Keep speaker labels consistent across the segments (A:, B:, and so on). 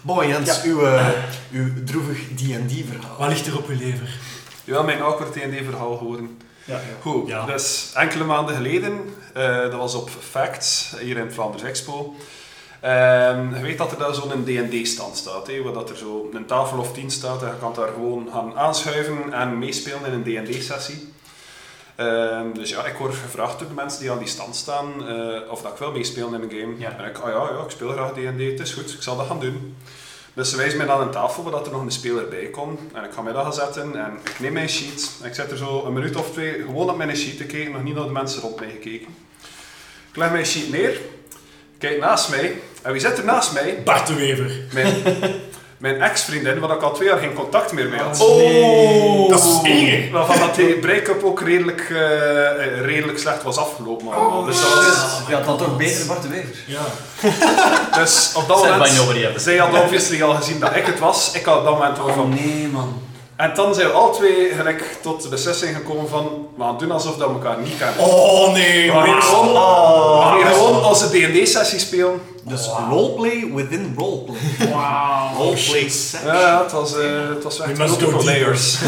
A: Boy, Jens, uw, eh, uw droevig D&D-verhaal.
B: Wat ligt er op uw lever?
C: Ja, mijn awkward D&D-verhaal horen.
B: Ja.
C: Goed,
B: Ja.
C: dus enkele maanden geleden, eh, dat was op Facts, hier in het Vlaanders Expo. Ehm, je weet dat er daar zo'n D&D-stand staat, hè, waar dat er zo een tafel of tien staat en je kan daar gewoon gaan aanschuiven en meespelen in een D&D-sessie. Ehm, dus ja, ik word gevraagd door de mensen die aan die stand staan eh, of dat ik wil meespelen in een game.
B: Ja.
C: En ik, ah ja, ja, ik speel graag D&D, het is goed, ik zal dat gaan doen. Dus ze wijst mij aan een tafel waar dat er nog een speler bij komt. En ik ga mij dat gaan zetten en ik neem mijn sheet. En ik zet er zo een minuut of twee gewoon op mijn sheet te kijken, nog niet naar de mensen rond mij gekeken. Ik leg mijn sheet neer, kijk naast mij. En wie zit er naast mij?
B: Bart de Wever.
C: Mijn, mijn ex-vriendin, waar ik al twee jaar geen contact meer mee had.
B: Oh, dat is eer.
C: Waarvan dat die break-up ook redelijk, eh, eh, redelijk slecht was afgelopen.
B: Oh,
C: allemaal. dus, dat was-
A: ja, dat had toch beter Bart de Wever.
B: Ja.
C: dus op dat
D: Said
C: moment...
D: by nobody ever.
C: Zij had obviously al gezien dat ik het was. Ik had op dat moment wel
B: Oh,
C: van...
A: nee, man.
C: En dan zijn we al twee gelijk tot de beslissing gekomen van we gaan doen alsof dat we elkaar niet kennen.
B: Oh nee,
C: we gaan hier
B: wauw.
C: gewoon, we gaan hier gewoon onze D&D-sessie spelen.
A: Dus roleplay within roleplay.
B: Wauw.
A: roleplay
C: Ja,
A: section.
C: ja, het was, eh het was
B: We
C: echt
B: must go
C: multiple
B: deeper.
C: layers.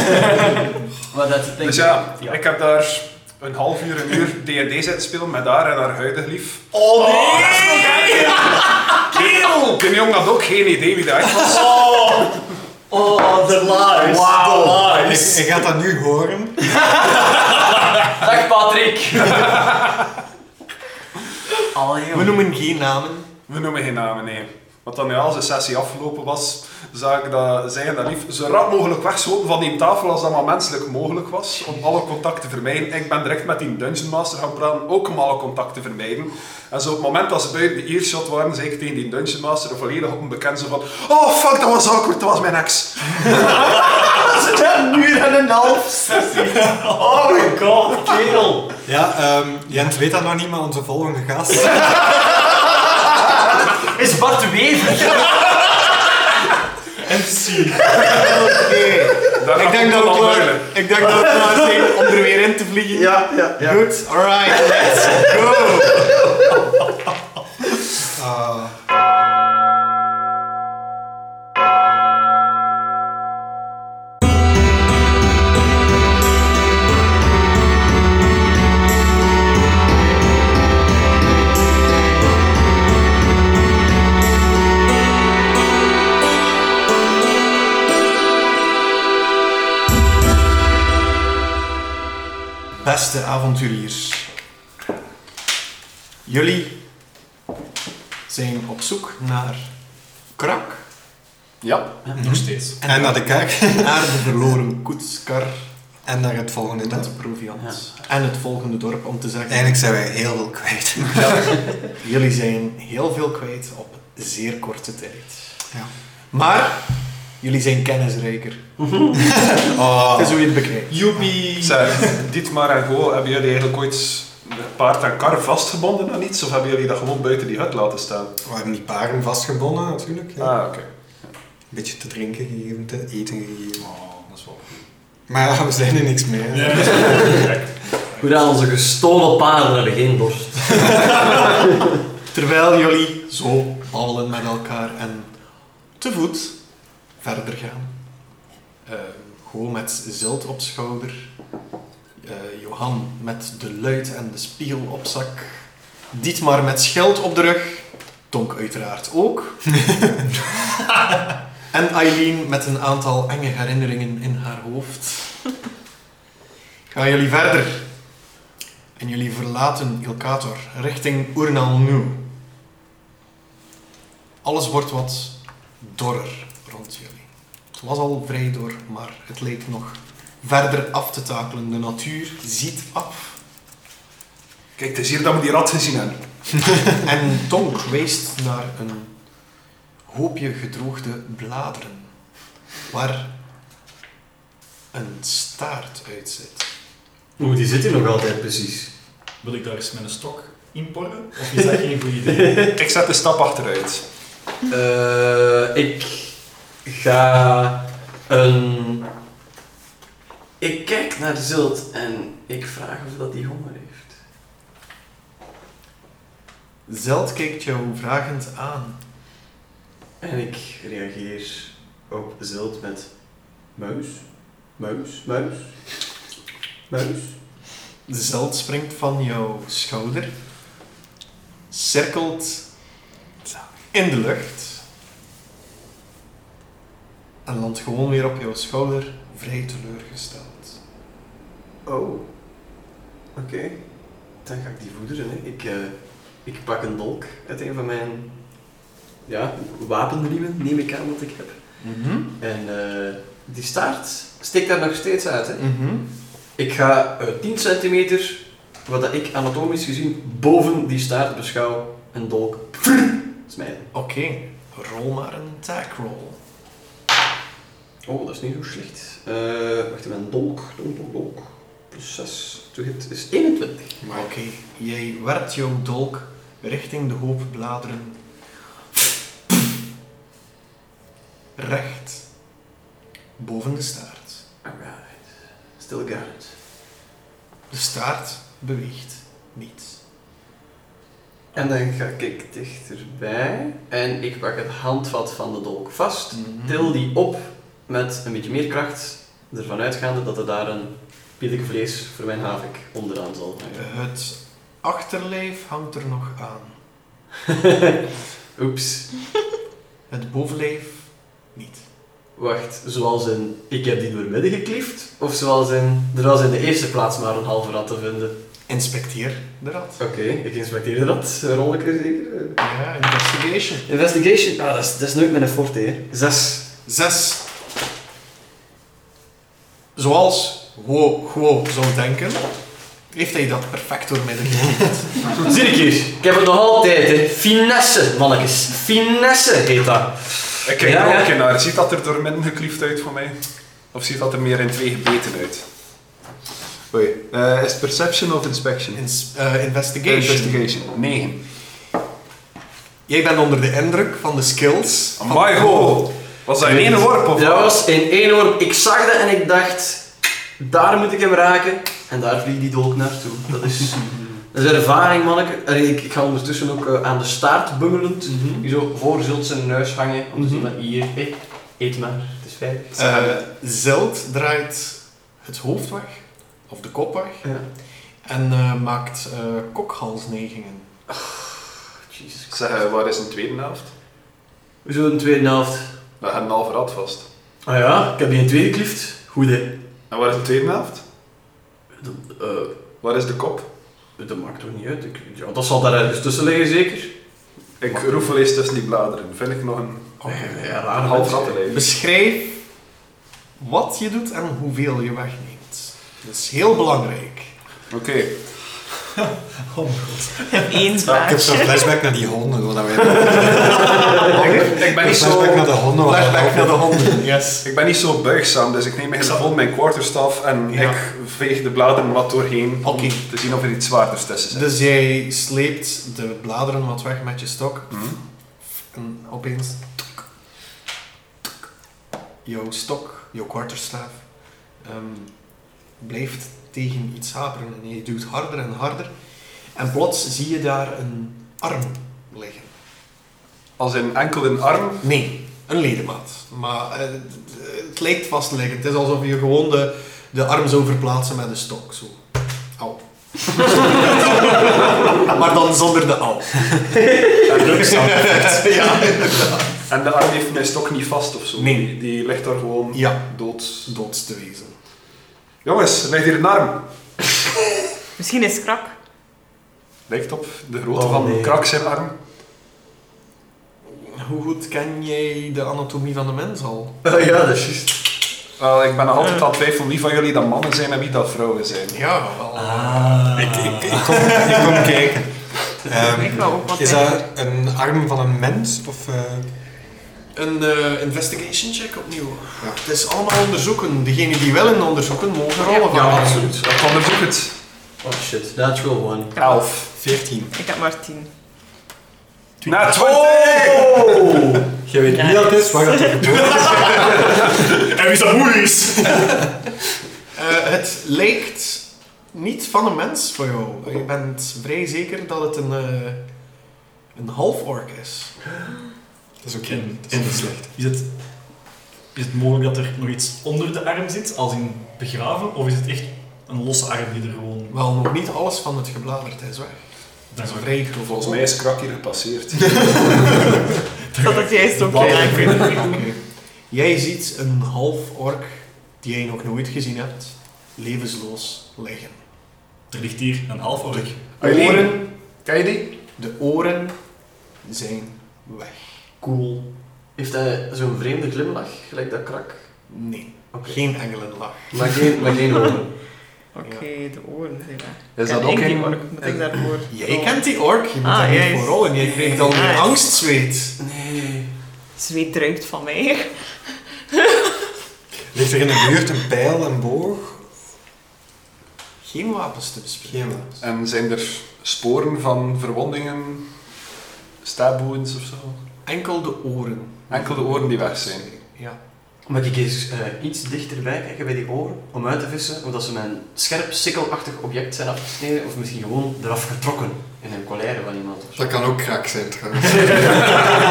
D: Maar dat is het ding.
C: Dus ja, ik heb daar een half uur, een uur D&D zitten spelen met haar en haar huidige lief.
B: Oh nee.
C: Kerel! De jong had ook geen idee wie dat echt was.
D: Oh, de lies.
B: Wauw.
A: Ik, ik ga dat nu horen.
D: Dag Patrick.
A: We noemen geen namen.
C: We noemen geen namen, nee. Want dan ja, als de sessie afgelopen was, zag ik dat zij en dat lief zo rap mogelijk wegslopen van die tafel als dat maar menselijk mogelijk was, om alle contact te vermijden. Ik ben direct met die Dungeon Master gaan praten, ook om alle contact te vermijden. En zo op het moment dat ze buiten de earshot waren, zei ik tegen die Dungeon Master een volledig onbekend zo van Oh fuck, dat was awkward, dat was mijn ex.
A: Een uur en een half.
D: Oh my god, kerel.
E: Ja, ehm, Jent weet dat nog niet, maar onze volgende gast.
D: Is Bart de Wever.
B: MC.
C: Daar
E: ik denk dat het
C: het al
E: klaar,
C: huilen.
E: ik denk dat het klaar is om er weer in te vliegen.
A: Ja, ja, ja.
E: Goed, alright, let's go! Ah.
A: Beste avonturiers. Jullie zijn op zoek naar krak.
C: Ja.
B: Nog steeds.
E: En naar de kerk.
A: Naar de verloren koetskar
E: En naar het volgende
A: en
E: dorp.
A: het proviant. En het volgende dorp om te zeggen.
E: Eigenlijk zijn wij heel veel kwijt.
A: Jullie zijn heel veel kwijt op zeer korte tijd.
E: Ja.
A: Maar jullie zijn kennisrijker.
E: Oh.
A: Dat is hoe je het bekijkt.
B: Joepie.
C: Zeg, Dietmar en Go, hebben jullie eigenlijk ooit paard en kar vastgebonden aan iets? Of hebben jullie dat gewoon buiten die hut laten staan?
E: We hebben die paren vastgebonden natuurlijk. Ja.
C: Ah, oké.
E: Een beetje te drinken gegeven, te eten gegeven.
C: Oh, dat is wel goed.
E: Maar ja, we zijn er niks meer.
B: Ja.
D: Goed aan onze gestolen paarden hebben geen dorst.
A: Terwijl jullie zo babbelen met elkaar en te voet verder gaan. Eh, gewoon met Zilt op schouder. Eh, Johan met de luid en de spiegel op zak. Dietmar met schild op de rug. Tonk uiteraard ook. en Eileen met een aantal enge herinneringen in haar hoofd. Gaan jullie verder. En jullie verlaten Ilkator richting Urnalnu. Alles wordt wat dorrer rond jullie. Het was al vrij dor, maar het leek nog verder af te takelen. De natuur ziet af.
C: Kijk, het is hier dat we die rat gezien hebben.
A: En Tonk wijst naar een hoopje gedroogde bladeren, waar een staart uit zit.
D: Oeh, die zit hier nog altijd precies.
B: Wil ik daar eens met een stok inporren? Of is dat geen goed idee?
C: Ik zet een stap achteruit.
D: Eh, ik ga een. Ik kijk naar Zult en ik vraag of dat die honger heeft.
A: Zeld kijkt jou vragend aan.
D: En ik reageer op Zilt met muis, muis, muis, muis.
A: De zeld springt van jouw schouder, cirkelt in de lucht en landt gewoon weer op jouw schouder, vrij teleurgesteld.
D: Oh, oké. Dan ga ik die voederen. Hè. Ik, eh, ik pak een dolk uit een van mijn ja, wapenriemen, neem ik aan wat ik heb.
A: Mhm.
D: En eh, die staart steekt daar nog steeds uit. Hè.
A: Mhm.
D: Ik ga eh, 10 centimeter, wat dat ik anatomisch gezien boven die staart beschouw, een dolk smijten.
A: Oké, rol maar een attack roll.
D: Oh, dat is niet zo slecht. Eh wacht even, een dolk, dolk, dolk, dolk. Plus 6 to hit is 21.
A: Maar oké, jij werpt jouw dolk richting de hoop bladeren. Recht boven de staart.
D: Alright. Still got it.
A: De staart beweegt niet.
D: En dan ga ik dichterbij en ik pak het handvat van de dolk vast,
A: Mhm.
D: til die op met een beetje meer kracht, ervan uitgaande dat er daar een billig vlees voor mijn havik onderaan zal hangen.
A: Het achterlijf hangt er nog aan.
D: Oeps,
A: Het bovenlijf niet.
D: wacht, zoals in ik heb die doormidden gekliefd, of zoals in er was in de eerste plaats maar een halve rat te vinden.
A: Inspecteer de rat.
D: Oké, ik inspecteer dat, rol ik er zeker.
A: Ja, investigation.
D: Investigation, ah, dat is, dat is nooit mijn forte, hè. Zes.
A: Zes. Zoals Guo Guo zou denken, heeft hij dat perfect doormidden gevoerd.
D: Zie ik hier, ik heb het nog altijd, hè. Finesse, mannetjes. Finesse heet dat.
C: Ik kijk
D: Ja,
C: er
D: ja.
C: ook in naar. Ziet dat er door min gekliefd uit voor mij? Of ziet dat er meer in twee gebeten uit? Oei. eh, is het perception of inspection?
A: Ins- eh, investigation.
C: Investigation. 9.
A: Jij bent onder de indruk van de skills. van
C: Amai, ho! Was dat in één worp of
D: Dat
C: wat?
D: was in één worp. Ik zag dat en ik dacht, daar moet ik hem raken. En daar vliegt die dolk naartoe. Dat is, dat is ervaring, manneke. En ik, ik ga ondertussen ook eh, aan de staart bungelend.
A: Mhm.
D: Die zo voor zult zijn neus hangen. Om te zien dat hier, hé, eet maar. Het is veilig.
A: Eh, Zeld draait het hoofd weg, of de kop weg,
D: Ja.
A: en eh, maakt eh, kokhalsneigingen.
D: Jezus.
C: Zeg, eh, waar is een tweede helft?
D: We zullen de tweede helft.
C: We hebben een halve rat vast.
D: Ah ja, ik heb die in twee geklift. Goed hè.
C: En waar is de tweede helft?
D: Dat, eh,
C: Waar is de kop?
D: dat maakt toch niet uit. Ik, ja, dat zal daar ergens tussen liggen zeker.
C: Ik roefel eens tussen die bladeren. Vind ik nog een,
D: Nee, Eh, ja,
C: een
D: raar
C: half
D: mensen.
C: rattenleven.
A: Beschrijf wat je doet en hoeveel je wegneemt. Dat is heel belangrijk.
C: Oké.
F: Eén
E: Ik heb zo'n
F: zwaardje.
E: flashback naar die honden. Wat wij
C: Ik- ik ben niet
E: flashback
C: zo...
E: naar de honden. wat wij
A: Flashback
E: lopen.
A: naar de honden. Yes.
C: Ik ben niet zo buigzaam, dus ik neem mijn vol mijn quarterstaff en
A: Ja.
C: ik veeg de bladeren wat doorheen om
A: Oké.
C: te zien of er iets zwaarders tussen zit.
A: Dus jij sleept de bladeren wat weg met je stok.
C: Mhm.
A: En opeens... tuk, tuk. jouw stok, jouw quarterstaaf, ehm, blijft tegen iets haperen. En je duwt harder en harder. En plots zie je daar een arm liggen.
C: Als in enkel een arm.
A: Nee, een ledemaat. Maar eh, d- d- het lijkt vast te liggen. Het is alsof je gewoon de, de arm zou verplaatsen met een stok. Zo. Au. maar dan zonder de au.
C: En de,
A: ja.
C: en de arm heeft mijn stok niet vast of zo.
A: Nee.
C: Die ligt daar gewoon
A: ja,
C: dood.
A: doods te wezen.
C: Jongens, er ligt hier een arm.
F: Misschien is krak.
C: Lijkt op de grootte
D: Oh,
C: van
D: nee.
C: Krak zijn arm.
A: Hoe goed ken jij de anatomie van de mens al?
D: Ah ja, dat is juist.
C: Wel, Eh, ik ben nog altijd aan het twijfelen wie van jullie dat mannen zijn en wie dat vrouwen zijn.
A: Ja, wel.
E: Ik, ik, ik, kom, ik kom kijken. Ehm,
F: Ik wou ook wat
E: is
F: zeggen.
E: dat een arm van een mens? Of, eh,
A: Een eh, investigation check opnieuw. Het is allemaal onderzoeken. Degenen die willen onderzoeken, mogen rollen van.
D: Ja, absoluut.
C: Dat onderzoek het.
D: Oh shit, natural one.
F: Ik heb maar-
C: Elf.
E: 14.
F: Ik heb maar tien.
C: Na twintig!
D: Oh.
E: Je weet niet dat het is, waar dat er gebeurd is.
A: En wie dat moeilijk? Eh, het lijkt niet van een mens voor jou. Je bent vrij zeker dat het een, eh, een half-ork is.
E: Dat is oké.
B: En-
E: Dat is niet slecht.
B: Is het, is het mogelijk dat er nog iets onder de arm zit, als in begraven? Of is het echt een losse arm die er gewoon...
A: Wel, nog niet alles van het gebladerd is weg. Dat
B: Dan
A: is
B: ga
A: een
B: ik-
A: vrij grof.
C: Volgens mij is Krak hier gepasseerd.
B: dan
F: Dat
B: ga
F: had ik juist ook
B: bal
F: gedaan.
B: verder.
A: Oké. Jij ziet een half ork die jij nog nooit gezien hebt, levensloos liggen.
B: Er ligt hier een half ork.
C: Eileen,
A: Oren,
C: Ken je die?
A: de oren zijn weg.
D: Cool. Heeft hij zo'n vreemde glimlach, gelijk dat krak?
A: Nee,
D: Oké.
A: geen engelenlach.
D: Maar geen, maar geen ogen.
A: Ja.
F: Oké, de oren zijn weg.
C: Is
F: Ken
C: dat ook
F: ik die
C: een...
F: ork? Moet
D: Eh,
F: ik daarvoor?
A: Jij
F: Oh.
A: kent die ork, je moet
F: Ah,
A: daar niet
F: jij-
A: voor rollen. Jij krijgt al
F: Ah,
A: een
F: ja.
A: angstzweet.
D: Nee.
F: Zweet druipt van mij.
E: Ligt er in de buurt een pijl, een boog?
A: Geen wapens te bespreken.
E: Geen wapens.
C: En zijn er sporen van verwondingen? Stabwounds of zo?
A: Enkel de oren.
C: Enkel de oren die weg zijn.
A: Ja.
D: Mag ik eens eh, iets dichterbij kijken bij die oren om uit te vissen, omdat ze mijn scherp, sikkelachtig object zijn afgesneden of misschien gewoon eraf getrokken in een colère van iemand of zo.
E: Dat kan ook krak zijn trouwens.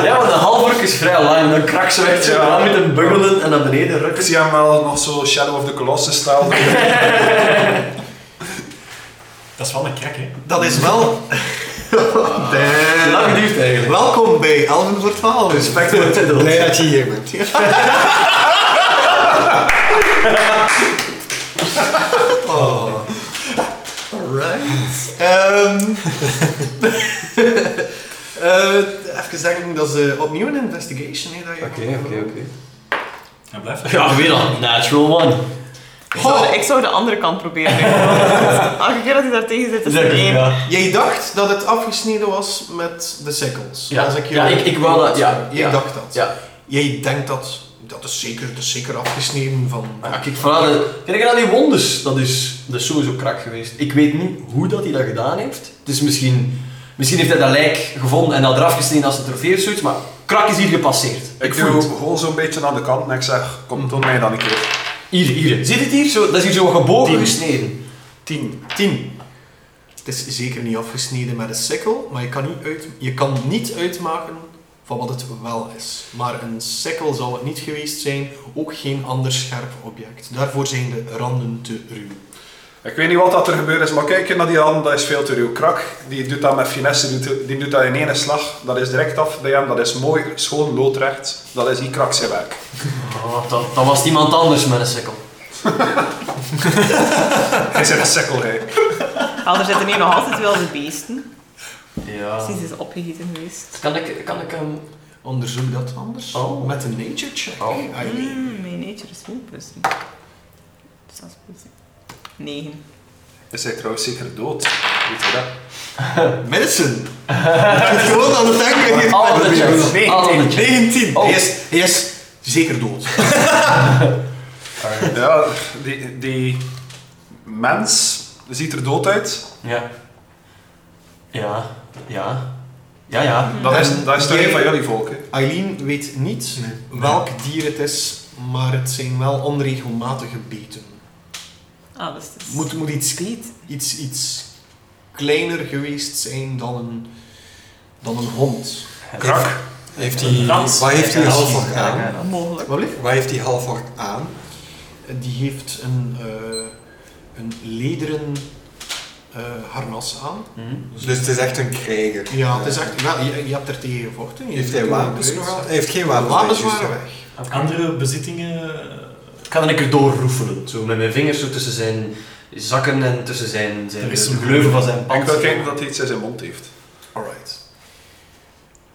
D: Ja, want de halvork is vrij lang, dan krak ze weg zo
C: Ja.
D: aan met een bungelen en naar beneden
C: Ik
D: rukken.
C: zie hem wel nog zo Shadow of the Colossus staan.
B: Dat is wel een krak, hè?
A: Dat is wel... Damn.
D: Lang duurt eigenlijk.
A: Welkom bij Elven voor 12.
D: Respect voor het titel.
E: Blij dat je hier bent.
A: Oh. Alright. Ehm Eh, even zeggen, dat is eh, opnieuw een investigation. Hè, dat je
D: oké.
B: Hij blijft.
D: Ja, weer dan. Natural one.
F: Ik zou, de, ik zou de andere kant proberen. Elke keer dat hij daar tegen zit, is er één.
D: Ja,
A: Jij dacht dat het afgesneden was met de sickles.
D: Ja.
A: Als ik, je-
D: Ja, ik- ik wou dat- ja,
A: Jij
D: ja.
A: dacht dat.
D: ja.
A: Jij denkt dat... Dat is zeker, dat is zeker afgesneden van...
D: Maar ja, kijk, vooral de, kijk naar die wondes. Dat is, dat is sowieso krak geweest. Ik weet niet hoe dat hij dat gedaan heeft. Dus misschien, misschien heeft hij dat lijk gevonden en dat eraf gesneden als een trofee of zoiets. Maar krak is hier gepasseerd.
C: Ik
D: voel
C: doe
D: het.
C: gewoon zo'n beetje aan de kant en ik zeg, kom toon mij dan een keer.
D: Hier, hier. Ziet het hier? Zo, dat is hier zo gebogen
A: Tien.
D: gesneden.
A: 10. 10. Het is zeker niet afgesneden met een sikkel, maar je kan, niet uit, je kan niet uitmaken van wat het wel is. Maar een sikkel zal het niet geweest zijn, ook geen ander scherp object. Daarvoor zijn de randen te ruw.
C: Ik weet niet wat dat er gebeurd is, maar kijk naar die hand, dat is veel te ruw. Krak, die doet dat met finesse, die doet, die doet dat in één slag. Dat is direct af bij hem, dat is mooi, schoon, loodrecht. Dat is die Krak zijn werk.
D: Oh, dat, dat was het iemand anders met een sikkel.
C: Hij is een sikkel, hij.
F: Ah, er zitten hier nog altijd wel de beesten.
D: Ja.
F: Precies is opgegeten geweest.
D: Kan ik, kan ik hem...
A: Onderzoek dat anders
D: Oh.
A: met een nature check.
D: Oh.
A: Eileen.
F: Mm, mijn nature is goed plus. Zes plus. Negen.
C: Is hij trouwens zeker dood? Weet je dat?
A: Medicine! Je moet gewoon aan de tank hier.
D: Alle de chat. Alle de chat.
A: 19.
D: Oh.
A: Hij, is, hij is zeker dood.
C: Ja, die, die mens ziet er dood uit.
D: Ja. Ja. Ja. Ja, ja.
C: Dat is, dat is toch
A: Jij-
C: een van jullie volk, hè?
A: Eileen weet niet welk dier het is, maar het zijn wel onregelmatige beten.
F: Ah, dus het is...
A: Moet, moet iets, iets, iets kleiner geweest zijn dan een, dan een hond.
C: Krak.
E: Heeft die,
B: Dans.
E: waar heeft die
B: Ja,
E: half aan?
F: Mogelijk.
A: Wat
E: Waar heeft die half aan?
A: Die heeft een, eh, een lederen eh, harnas aan.
D: Hm?
E: Dus het is echt een krijger. Eh,
A: Ja, het is echt, wel, je, je hebt er tegen gevochten. Je
E: Heeft hij wapens nog
A: gebruikt.
E: aan? Hij heeft geen
A: De
E: wapens.
A: wapens
E: bij,
A: waren
E: juist.
A: weg.
B: Andere bezittingen... eh,
D: Ik ga dan een keer doorroefelen. Zo met mijn vingers zo tussen zijn zakken en tussen zijn, zijn
B: Er
D: de
B: is een
D: gleuven van zijn
C: Ik wil
D: pants.
C: kijken dat hij iets in zijn mond heeft.
A: Alright.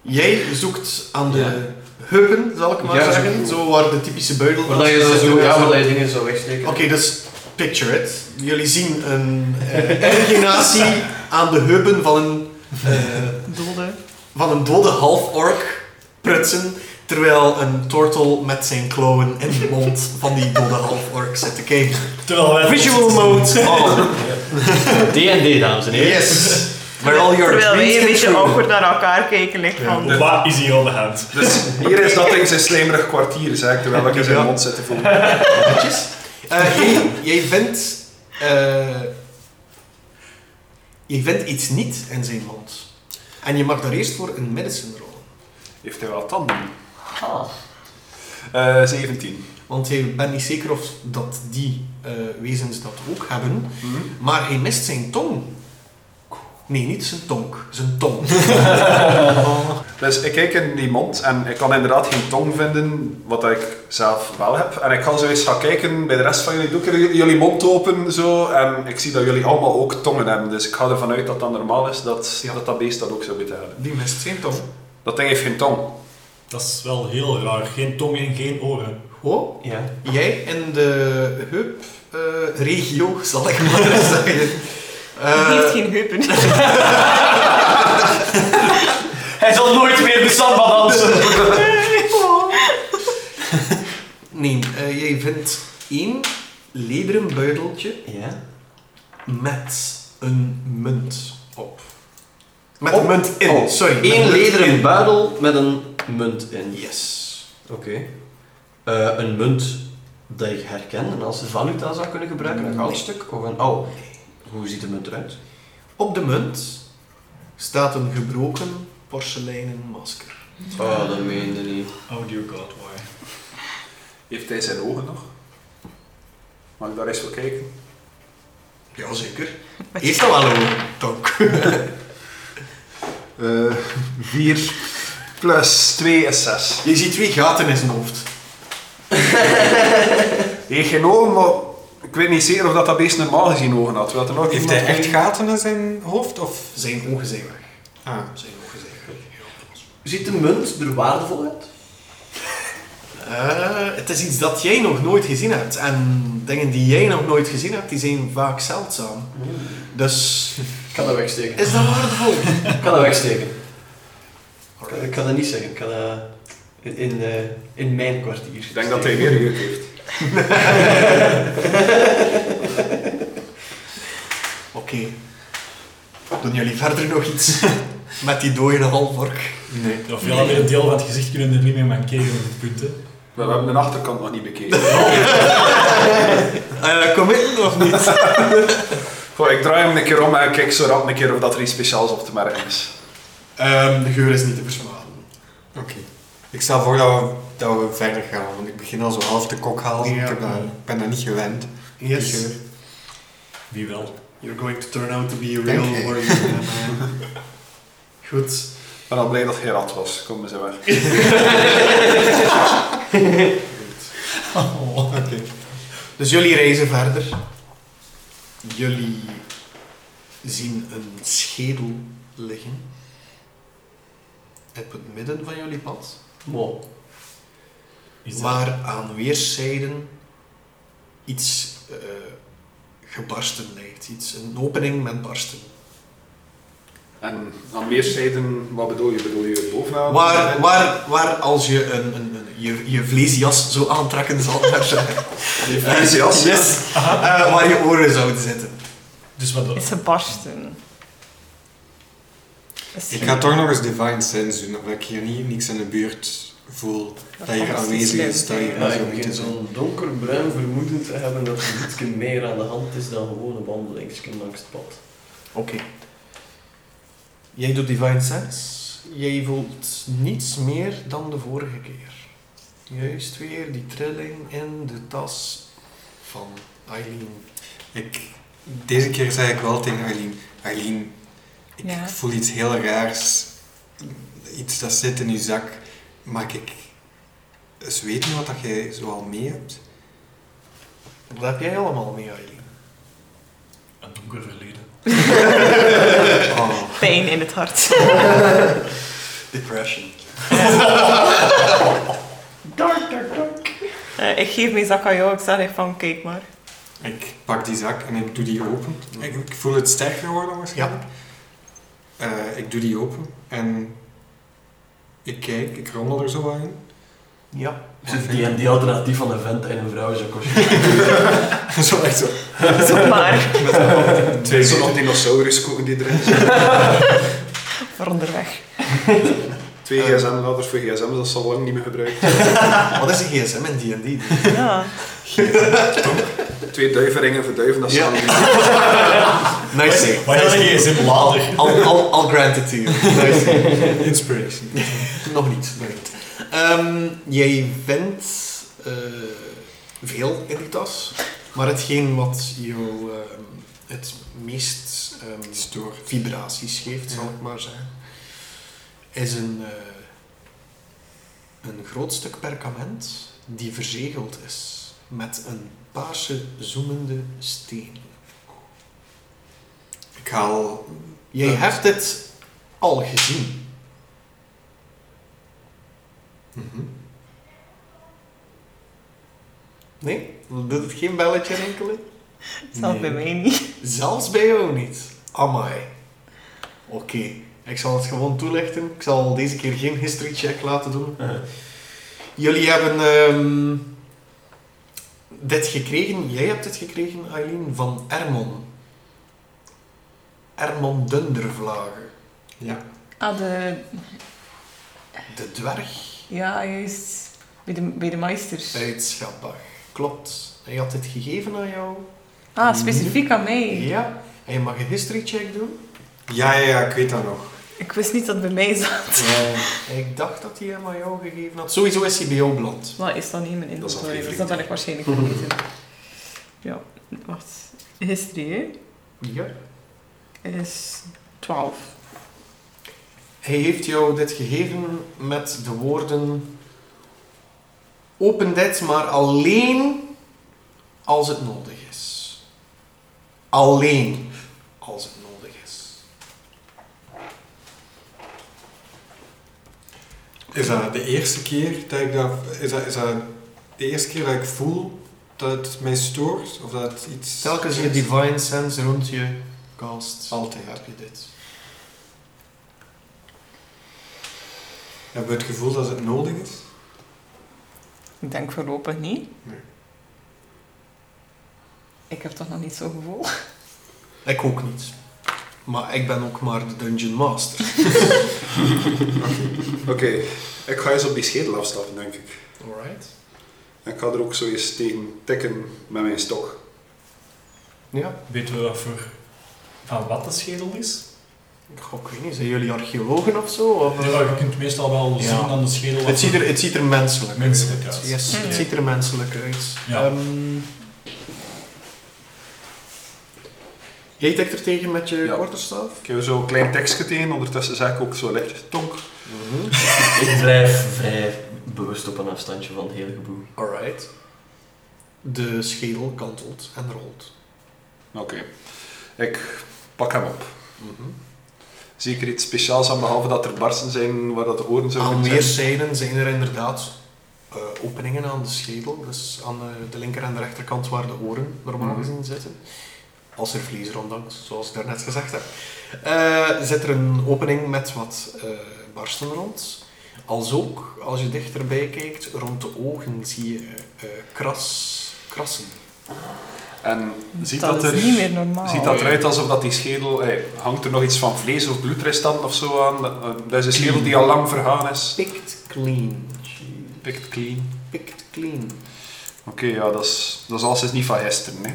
A: Jij zoekt aan de heupen, zal ik maar
D: Ja, zo
A: zeggen.
D: goed.
A: Zo waar de typische buidel
D: Waar dat je zo,
A: zit,
D: zo, ja,
A: zo.
D: waar dat je dingen zo wegsteken.
A: Oké, dus picture it. Jullie zien een eh, inclinatie aan de heupen van een, eh,
F: Dode.
A: van een dode half-ork prutsen, terwijl een tortel met zijn klauwen in de mond van die dode half-ork zit te kijken.
B: Terwijl wij...
A: Visual mode on.
D: D&D, dames en heren.
A: Yes. Where all your
F: Terwijl
A: dreams
F: wij een
A: come
F: beetje
A: true.
F: awkward naar elkaar kijken. Like, van,
B: Wat is hier aan de hand?
C: Dus hier is dat in zijn slijmerig kwartier, zeg ik, terwijl ik in zijn mond zit te voelen.
A: Netjes. Eh, jij, jij vindt... eh, jij vindt iets niet in zijn mond. En je mag daar eerst voor een medicine rollen.
C: Heeft hij wel tanden?
F: Oh.
C: Eh 17.
A: Want hij bent niet zeker of dat die eh, wezens dat ook hebben. Maar hij mist zijn tong. Nee, niet zijn tong. Zijn tong.
C: Dus ik kijk in die mond en ik kan inderdaad geen tong vinden, wat ik zelf wel heb. En ik ga zo eens gaan kijken bij de rest van jullie. Doe ik er jullie mond open zo en ik zie dat jullie allemaal ook tongen hebben. Dus ik ga ervan uit dat dat normaal is, dat dat, dat beest dat ook zou moeten hebben.
A: Die mist zijn tong.
C: Dat ding heeft geen tong.
B: Dat is wel heel raar. Geen tong en geen oren.
A: Oh,
D: Ja.
A: jij in de heup-regio, zal ik maar zeggen. Eh,
F: Die heeft geen heupen.
B: Hij zal nooit meer de samba dansen.
A: Nee, eh, jij vindt één lederen buideltje
D: Ja.
A: met een munt op. Met
D: Op?
A: een munt in,
D: Oh,
A: sorry. met een
D: Eén
A: munt in.
D: lederen buidel met een munt in.
A: Yes.
D: Oké. Eh, een munt dat ik herken en als valuta zou kunnen gebruiken, een goudstuk of een... Oh, hoe ziet de munt eruit?
A: Op de munt staat een gebroken porseleinen masker.
D: Oh, dat meende niet.
B: Audio god, why?
C: Heeft hij zijn ogen nog? Mag ik daar eens voor kijken?
A: Jazeker. Heeft dat wel een tong?
C: Eh 4 plus 2 is 6.
A: Je ziet twee gaten in zijn hoofd.
C: Hij heeft geen ogen, maar ik weet niet zeker of dat, dat beest normaal gezien ogen had. Wil er nog
E: Heeft
C: iemand
E: hij echt
C: bij?
E: gaten in zijn hoofd? Of?
A: Zijn ogen zijn weg.
E: Ah.
A: Zijn ogen zijn weg.
D: Ziet de munt er waardevol uit?
A: Eh, het is iets dat jij nog nooit gezien hebt. En dingen die jij nog nooit gezien hebt, die zijn vaak zeldzaam. Dus
D: Ik kan dat wegsteken.
A: is dat waardevol?
D: Ik kan dat wegsteken. Ik kan- Ik kan dat niet zeggen. Ik kan dat in, in, eh, in mijn kwartier.
C: Ik denk dat hij weer gehuurd heeft.
A: Oké. Doen jullie verder nog iets met die dode halvork?
E: Nee.
B: Of ja, weer een deel van het gezicht kunnen er niet meer mankeren op dit punt. hè.
C: Maar we hebben de achterkant nog niet bekeken.
A: Eh committen of niet?
C: Goh, ik draai hem een keer om en kijk zo rap een keer of dat er iets speciaals op te merken is.
A: Ehm, de geur is niet te versmaden.
E: Oké. Ik stel voor dat we, dat we verder gaan, want ik begin al zo half te kok halen.
A: Ja.
E: Ik heb daar- ik ben daar niet gewend. die
A: Yes.
E: geur.
B: Wie wel.
A: You're going to turn out to be a
E: Dank
A: real
E: je.
A: warrior. En, eh, Goed.
C: Ik ben al blij dat hij rat was. Kom eens weg.
A: Oh, Dus jullie reizen verder. Jullie zien een schedel liggen. Op het midden van jullie pad.
D: Wow.
B: Is dat-
A: waar aan weerszijden iets eh, gebarsten lijkt. Iets, een opening met barsten.
C: En aan weerszijden, wat bedoel je? Bedoel je bovenaan?
A: Waar, waar, waar als je een, een, een- je, je vleesjas zou aantrekken, zal daar zijn.
C: Die vlees jas?
A: Yes. Eh, waar je oren zouden zitten.
B: Dus wat
F: Ze barsten. Is-
E: Ik ga toch nog eens Divine Sense doen, omdat ik hier niet, niks in de buurt voel dat, hier
F: alles
E: aanwezig
F: niet
E: is, dat
F: slim
E: hier niet
F: zijn.
D: Nou,
E: zou
D: ik
E: moeten
D: begin
E: zijn.
D: zo'n donkerbruin vermoeden te hebben dat er iets meer aan de hand is dan gewoon een wandelingsje langs het pad.
A: Oké. Jij doet Divine Sense. Jij voelt niets meer dan de vorige keer. Juist weer die trilling in de tas van Eileen.
E: Ik, deze keer zei ik wel tegen Eileen, Eileen, ik
F: Ja.
E: voel iets heel raars, iets dat zit in uw zak, maar ik eens weten wat dat jij zoal mee hebt.
A: Wat heb jij allemaal mee, Eileen?
B: Een donker verleden.
E: Oh.
F: Pijn in het hart.
A: Depression.
D: Dark, dark, dark.
F: Eh, ik geef mijn zak aan jou. Ik zeg echt van, kijk maar.
E: Ik pak die zak en ik doe die open. Ik, ik voel het sterker worden waarschijnlijk. Eh, ik doe die open en ik kijk, ik rommel er zo wat in.
A: Ja.
D: Die, en die alternatief van een vent en een vrouw is ook waarschijnlijk.
E: zo echt zo.
F: Zoek maar.
E: Met een- twee
C: Zo'n
E: meter.
C: dinosauruskoeken die erin zit.
F: Voor onderweg.
C: Twee
A: Eh.
C: gsm-ladders voor gsm's, dat is al lang niet meer gebruikt.
A: Wat is een gsm in D&D?
F: Ja.
C: Twee duivenringen voor duiven, dat is
A: Ja.
C: dan-
A: Nice save.
B: Maar dat is geen lader.
A: Al, al, al granted to you. Nice save.
E: Inspiration.
A: Nog niet. Nog niet. Ehm, jij vindt eh, veel in die tas, maar hetgeen wat jou ehm, het meest ehm,
E: Stoor.
A: vibraties geeft, zal
E: Ja.
A: ik maar zeggen, is een, eh, een groot stuk perkament die verzegeld is met een paarse zoemende steen.
E: Ik haal...
A: Jij
E: Ja.
A: hebt dit al gezien.
E: Mhm.
A: Nee? Doet het geen belletje rinkelen?
F: Zelfs bij mij niet.
A: Zelfs bij jou niet. Amai. Oké, ik zal het gewoon toelichten. Ik zal deze keer geen history check laten doen. Jullie hebben ehm, dit gekregen, jij hebt dit gekregen, Eileen, van Ermon. Ermon Dundervlagen,
E: Ja.
F: Ah, de...
A: de dwerg
F: Ja, juist. Bij de, bij de meisters.
A: uit Schabach. Klopt. Hij had dit gegeven aan jou.
F: Ah, specifiek aan mij.
A: Ja. En je mag een history check doen.
E: Ja, ja, ja, ik weet dat nog.
F: Ik wist niet dat het bij mij zat.
E: Eh,
A: Ik dacht dat hij hem aan jou gegeven had. Sowieso is hij bij jou beland.
F: Maar is dat niet mijn
C: Dat is al
F: inventory?
C: geen
F: Dus dat ben ik waarschijnlijk vergeten. Ja, wacht. History, hè?
A: Ja.
F: Is 12.
A: Hij heeft jou dit gegeven met de woorden: Open dit maar alleen als het nodig is. Alleen als het nodig is.
E: Is dat de eerste keer dat ik dat... Is dat, is dat de eerste keer dat ik voel dat het mij stoort? Of dat het iets...
A: Telkens je divine sense rond je cast,
E: Altijd.
A: heb je dit.
E: Hebben we het gevoel dat het nodig is?
F: Ik denk voorlopig niet.
E: Nee.
F: Ik heb toch nog niet zo'n gevoel.
A: Ik ook niet. Maar ik ben ook maar de dungeon master.
C: Oké, ik ga eens op die schedel afstappen, denk ik.
A: Alright.
C: En ik ga er ook zo eens tegen tikken met mijn stok.
A: Ja,
B: Weten we wat voor... Van wat de schedel is?
A: ik, ik weet niet, zijn jullie archeologen of zo? Of, eh?
B: Ja, je kunt meestal wel
A: Ja.
B: zien aan de schedel...
A: Het ziet er, het ziet er menselijk,
B: Menselijk
A: uit.
B: uit.
A: Yes,
F: Mm.
A: het ziet er menselijk uit.
B: Ja.
A: Ehm, jij tikt er tegen met je
C: Ja.
A: quarterstaff?
C: Ik heb zo een klein tekstje tegen, ondertussen zeg ik ook zo lichtjes tonk.
D: Ik drijf vrij bewust op een afstandje van het hele geboel.
A: Alright. De schedel kantelt en rolt.
C: Oké, ik pak hem op. Zie ik er iets speciaals aan, behalve dat er barsten zijn waar dat de oren zo
F: Ah,
A: Aan
C: zijn?
A: weerszijden zijn er inderdaad eh, openingen aan de schedel. Dus aan eh, de linker en de rechterkant waar de oren normaal
C: Mhm.
A: gezien zitten. Als er vlies rondhangt, zoals ik daarnet gezegd heb. Eh, zit er een opening met wat eh, barsten rond. Als ook, als je dichterbij kijkt, rond de ogen zie je eh, kras, krassen.
C: En ziet
F: dat,
C: dat,
F: is
C: er,
F: niet meer normaal.
C: ziet dat eruit alsof dat die schedel... eh, hangt er nog iets van vlees of bloedrestanten of zo aan? Dat- eh, Dat is een schedel die al lang vergaan is.
A: Picked clean.
C: Pikt clean.
A: Picked clean.
C: Oké, ja, dat is, dat is alles is niet van gisteren, hè.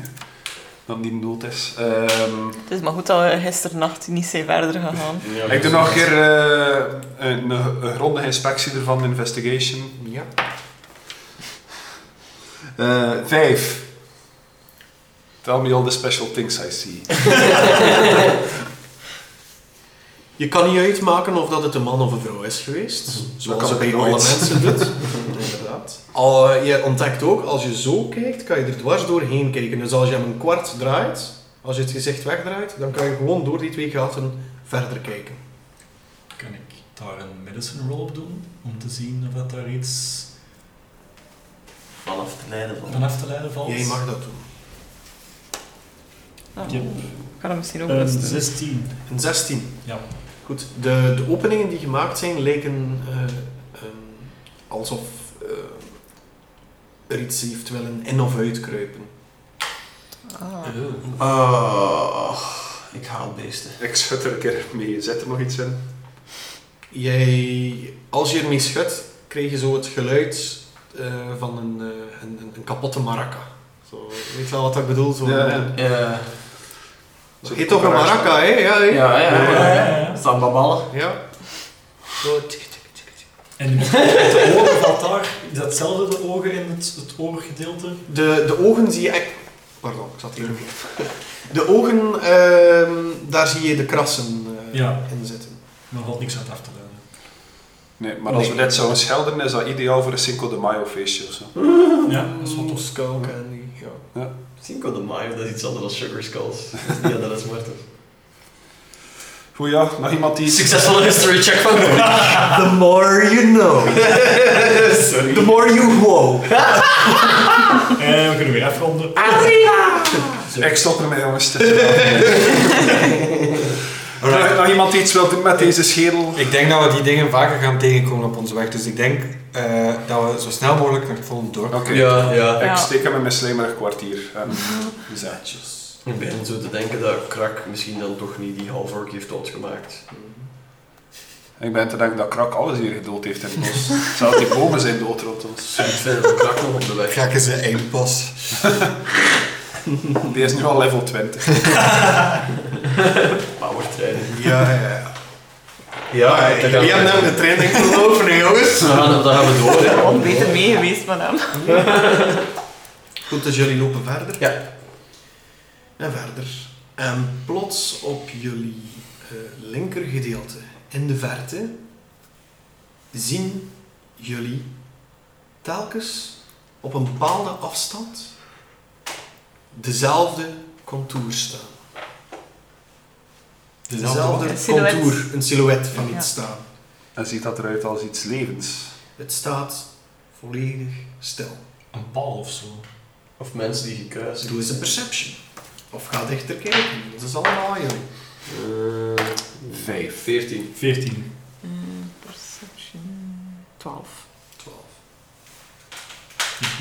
C: Dat die dood is. Ehm,
F: Het is maar goed dat we gisternacht niet zijn verder gegaan.
C: ik doe nog een keer eh, een, een grondige inspectie ervan, investigation.
A: Ja.
C: Eh, vijf. Tell me all the special things I see.
A: Je kan niet uitmaken of dat het een man of een vrouw is geweest.
C: kan
A: Zoals
C: ik
A: het bij alle
C: nooit.
A: mensen doet. Inderdaad. Al, eh, je ontdekt ook, als je zo kijkt, kan je er dwars doorheen kijken. Dus als je hem een kwart draait, als je het gezicht wegdraait, dan kan je gewoon door die twee gaten verder kijken.
B: Kan ik daar een medicine roll op doen? Om te zien of dat daar iets
D: Vanaf te leiden
B: van
D: van.
B: af te leiden valt?
A: Jij mag dat doen.
F: Nou,
B: Yep.
F: Ik kan hem misschien ook
B: Een
F: eens doen.
B: 16.
A: Een 16.
B: Ja.
A: Goed, de, de openingen die gemaakt zijn lijken eh, ehm, alsof eh, er iets heeft willen in of uitkruipen.
F: Ah.
B: Ah.
D: Oh, ik haal beesten.
C: Ik schud er een keer mee. Zit er nog iets in?
A: Jij, als je ermee schudt, krijg je zo het geluid eh, van een, eh, een, een, een kapotte maraca. Zo, weet je wel wat ik bedoel? Zo,
C: Ja, ja.
A: een-
D: Eh, Ja,
A: zo heet toch een maraca, hè? Ja, hè?
D: ja,
B: Ja,
D: ja.
B: ja,
D: ja.
B: ja.
D: Samba ballen.
A: Ja. Zo, tik, tik, tik, tik.
B: En de ogen valt daar, is dat hetzelfde de ogen in het, het oorgedeelte?
A: De, de ogen zie je echt... Pardon, ik zat hier nog niet. De ogen, ehm, daar zie je de krassen eh,
B: Ja.
A: in zitten.
B: Maar er valt niks uit af te leiden.
C: Nee, maar als we
A: Nee.
C: dit zouden schelden, is dat ideaal voor een Cinco de Mayo feestje of zo.
B: Ja, dat is wel tof.
A: Skull candy, ja.
D: Cinco de Mayo, dat is iets anders dan Sugar Skulls. Ja, dat is Martin.
C: Goed ja, nog iemand die...
D: Succesvolle history check van The more you know. The more you wow.
B: En we kunnen weer afronden.
C: Ik stop ermee jongens. het is wel- Nog- Nog iemand die iets wil doen met deze schedel?
E: Ik denk dat we die dingen vaker gaan tegenkomen op onze weg. Dus ik denk eh, dat we zo snel mogelijk naar het volgende dorp
C: Oké.
D: Ja, ja.
F: Ja. Mhm.
C: Ik steek hem in mijn slijmerig kwartier. Dus En... we zijn het.
D: Ik begin zo te denken dat Krak misschien dan toch niet die half orc heeft doodgemaakt.
C: Ik ben te denken dat Krak alles hier gedood heeft in het bos. Zelfs die bomen zijn doodrottels.
D: Ik vind dat Krak nog op de weg.
E: Kijk
A: eh,
E: eens een eindpas.
C: Die is nu al level 20.
D: Powertrainen.
A: Ja, ja, ja.
D: Ja,
A: Jullie hebben hem de training gelopen, hè, jongens.
D: Dan gaan, dan gaan we door. hè.
F: Om beter mee geweest van hem.
A: Goed, dus jullie lopen verder.
D: Ja.
A: En verder. En plots op jullie eh linkergedeelte in de verte zien jullie telkens op een bepaalde afstand dezelfde contour staan. Dezelfde
F: Een silhouet.
A: contour, een silhouet van
F: Ja.
A: iets staan.
C: En ziet dat eruit als iets levens.
A: Het staat volledig stil.
B: Een paal of zo.
D: Of mensen die gekruist
A: Doe eens een perception. Of ga dichter kijken. Dat is allemaal aan jullie.
D: Eh,
C: Vijf.
D: 14.
B: 14.
F: Mm, Perception 12.
A: 12.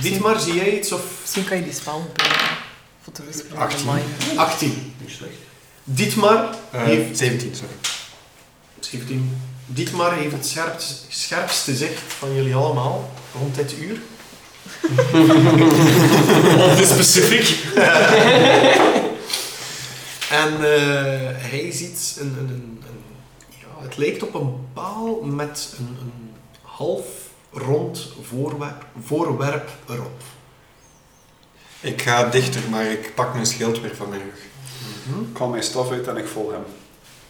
A: Dietmar, zie jij iets of
F: Misschien kan je die spel gebruiken. Voor te bespreken
A: 18.
F: online.
A: 18?
D: Niet slecht.
A: Dietmar
E: Eh,
A: heeft...
E: 17, sorry.
A: 17. Dietmar heeft het scherpst- scherpste zicht van jullie allemaal rond dit uur.
B: Op de specifiek.
A: En eh, hij ziet een... een, een, een- ja, het lijkt op een paal met een, een half rond voorwerp, voorwerp erop.
E: Ik ga dichter, maar ik pak mijn schild weer van mijn rug.
A: Hm?
C: Ik haal mijn staf uit en ik volg hem.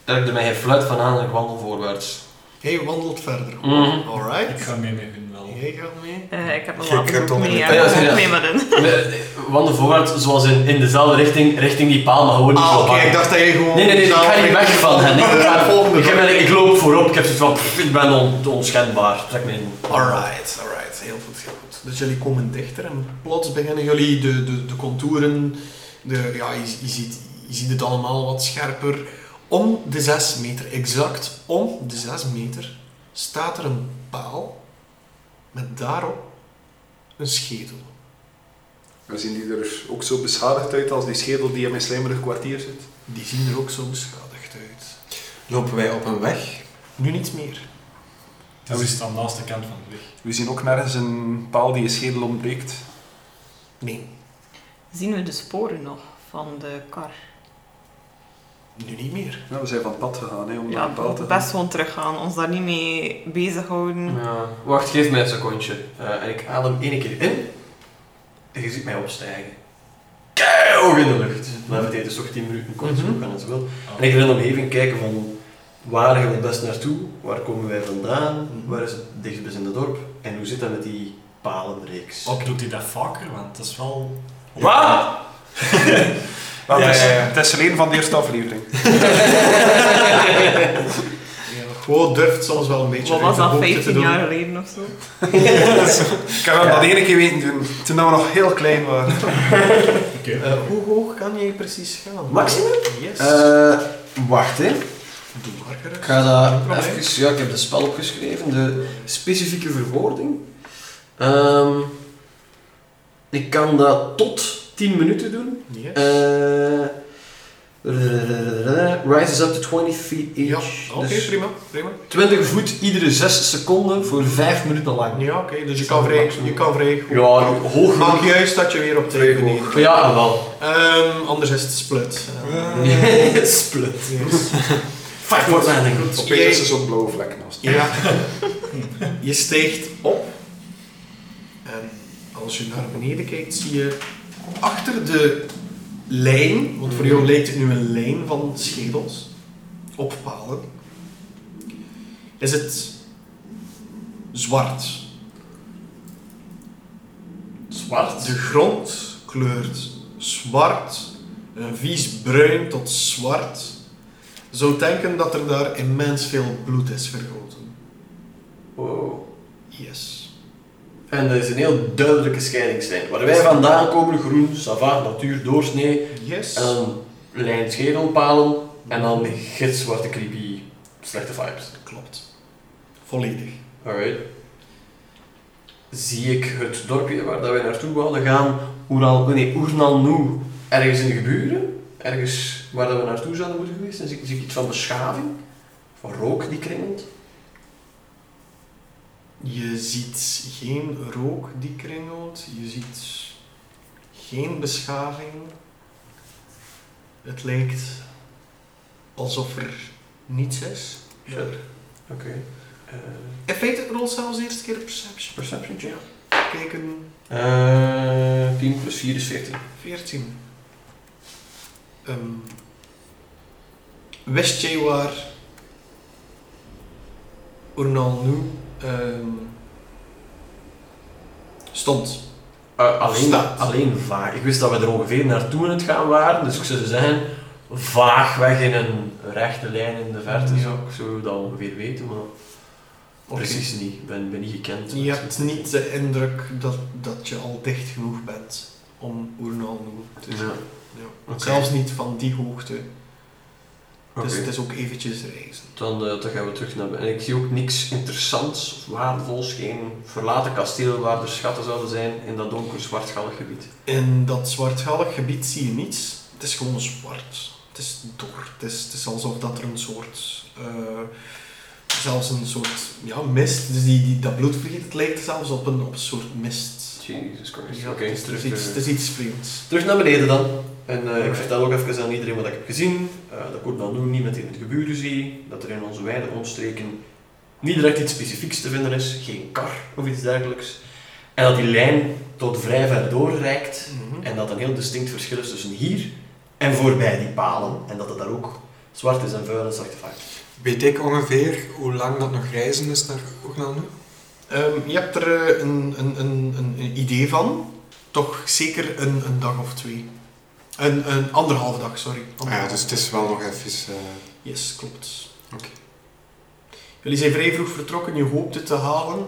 D: Trek er mij geen fluit van aan en ik wandel voorwaarts.
A: Hij wandelt verder.
D: Mhm.
B: Ik
A: Alright.
B: ga mee met hun wel.
A: Jij gaat mee.
F: Eh, ik heb een
E: Je kruipt
F: wapen ook
E: onder
F: mee.
E: de
F: Ja,
D: pijl.
F: ik heb
D: Ja,
F: ook
D: ja.
F: mee met een.
D: Nee, Wandel voorwaarts, zoals in, in dezelfde richting, richting die paal, maar gewoon niet
A: Ah,
D: zo
A: oké,
D: hard.
A: ik dacht dat jij gewoon...
D: Nee, nee, nee, ik ga niet weg van hen. Ik, ga,
A: Volgende
D: ik, heb eigenlijk- ik loop voorop, ik heb zoiets van, pff, ik ben on, onschendbaar. Trek me in.
A: Alright, alright. Heel goed, heel goed. Dus jullie komen dichter en plots beginnen jullie de, de, de contouren, de, ja, je, je ziet, je ziet het allemaal wat scherper. Om de 6 meter, exact om de 6 meter, staat er een paal met daarop een schedel.
C: We zien die er ook zo beschadigd uit als die schedel die in mijn slijmerig kwartier zit.
A: Die zien er ook zo beschadigd uit.
E: Lopen wij op een weg?
A: Nu niet meer.
B: Dus we staan naast de kant van de weg.
C: We zien ook nergens een paal die je schedel ontbreekt.
A: Nee,
F: Zien we de sporen nog van de kar?
A: nu niet meer.
C: Ja, we zijn van het pad gegaan hè, om naar
F: Ja,
C: een paal te gaan.
F: best gewoon teruggaan. Ons daar niet mee bezighouden.
D: Ja. Wacht, geef mij een secondje. Eh, en ik adem één keer in. En je ziet mij opstijgen. Keihog in de lucht. Blijf het dus toch 10 minuten kort
A: Mhm.
D: zo gaan en zo wil.
B: Ah.
D: En ik ga in de omgeving kijken van waar gaan we het best naartoe? Waar komen wij vandaan?
A: Mhm.
D: Waar is het dichtstbij in het dorp? En hoe zit dat met die palenreeks?
B: Ook doet hij dat vaker, want dat is wel...
D: Wat?
C: Wel,
E: Ja,
C: het, is,
E: ja, ja.
C: het is alleen van de eerste aflevering.
A: Ja, gewoon durft soms wel een beetje
F: Wat
A: uit
F: was
A: de
F: dat,
A: hoogte te
F: 15
A: doen.
F: jaar geleden of zo?
C: Ik heb hem dat ene keer weten doen, toen we nog heel klein waren.
B: Oké.
A: Eh, hoe hoog kan jij precies gaan?
D: Maximum?
A: Yes.
D: Eh, wacht hè.
A: Doe maar gerust.
D: Ik ga
A: Geen
D: dat
A: probleem.
D: even... Ja, ik heb de spel opgeschreven, de specifieke verwoording. Ehm, ik kan dat tot 10 minuten doen.
A: Yes.
D: Eh, Rises up to 20 feet
A: Ja,
D: each.
A: oké,
D: Dus
A: prima, prima.
D: 20 voet iedere 6 seconden voor 5 minuten lang.
A: Ja, oké, dus je kan vrij, je kan vrij goed.
D: Ja, hoog
A: Maak juist dat je weer op
C: Vrij
A: twee
C: hoog.
A: beneden.
D: Ja, wel.
A: Ehm, anders is het split. Eh, Ehm,
D: Split.
A: yes.
D: Fuck, wordt mij denk
C: Opeens
A: Jij-
C: is er zo'n blauwe vlek naast.
A: Ja. Je stijgt op. En als je naar beneden kijkt, zie je achter de lijn, want voor jou lijkt het nu een lijn van schedels, op palen, is het zwart. Zwart? De grond kleurt zwart, een vies bruin tot zwart. Zou denken dat er daar immens veel bloed is vergoten.
D: Wow.
A: Yes.
D: En dat is een heel duidelijke scheidingslijn. Waar wij vandaan komen, groen, sava, natuur, doorsnee.
A: Yes.
D: En dan lijn schedelpalen. En dan gitzwarte creepy, slechte vibes.
A: Klopt. Volledig.
D: Alright. Zie ik het dorpje waar dat wij naartoe wilden gaan, Oeral, nee, Oernalnu, ergens in de geburen? Ergens waar dat we naartoe zouden moeten geweest zijn? Zie, ik- zie ik iets van beschaving? Van rook die kringelt?
A: Je ziet geen rook die kringelt. Je ziet geen beschaving. Het lijkt alsof er niets is.
B: Ja.
D: Oké. Eh,
A: In feite rol zelfs de eerste keer perception.
D: perception check.
A: Kijken
D: Eh, 10 plus 4 is 14.
A: 14. Ehm, wist jij waar Oernal nu ehm, stond?
D: Eh, alleen,
A: Staat.
D: alleen vaag. Ik wist dat we er ongeveer naartoe aan het gaan waren, dus ik zou zeggen, vaag weg in een rechte lijn in de verte.
A: Ja.
D: Zo, ik zou dat ongeveer weten, maar
A: Oké.
D: precies niet. Ik ben, ben niet gekend.
A: Je hebt niet de indruk dat, dat je al dicht genoeg bent om Oernal nu te zien.
D: Dus, Ja.
A: Ja.
D: Oké.
A: Zelfs niet van die hoogte.
D: Oké,
A: Dus het is ook eventjes reizen.
D: dan, eh, dan gaan we terug naar beneden. En ik zie ook niks interessants of waardevols. Geen verlaten kasteel waar er schatten zouden zijn in dat donker zwartgallig gebied.
A: In dat zwartgallig gebied zie je niets. Het is gewoon zwart. Het is dor. Het is, het is alsof dat er een soort... eh, zelfs een soort ja, mist. Dus die, die, dat bloed vliegt. Het lijkt zelfs op een, op een soort mist.
D: Jezus Christus.
A: Ja,
D: Oké,
A: het, is, het, is
D: terug,
A: iets, het
D: eh,
A: is iets vreemds.
D: terug naar beneden dan. En eh, ik vertel ook even aan iedereen wat ik heb gezien. Eh, dat ik dan nu niet meteen het geburen zie. Dat er in onze wijde omstreken niet direct iets specifieks te vinden is. Geen kar of iets dergelijks. En dat die lijn tot vrij ver doorreikt.
A: Mhm.
D: En dat een heel distinct verschil is tussen hier en voorbij die palen. En dat het daar ook zwart is en vuil en zachte vaak.
E: Weet ik ongeveer hoe lang dat nog reizen is naar Oegland nu?
A: Ehm, je hebt er eh, een, een, een, een, een idee van. Toch zeker een, een dag of twee. Een, een anderhalf dag, sorry.
E: Ah ja, dus het is wel nog even... eh,
A: Yes, klopt.
E: Oké.
A: Jullie zijn vrij vroeg vertrokken, je hoopt het te halen.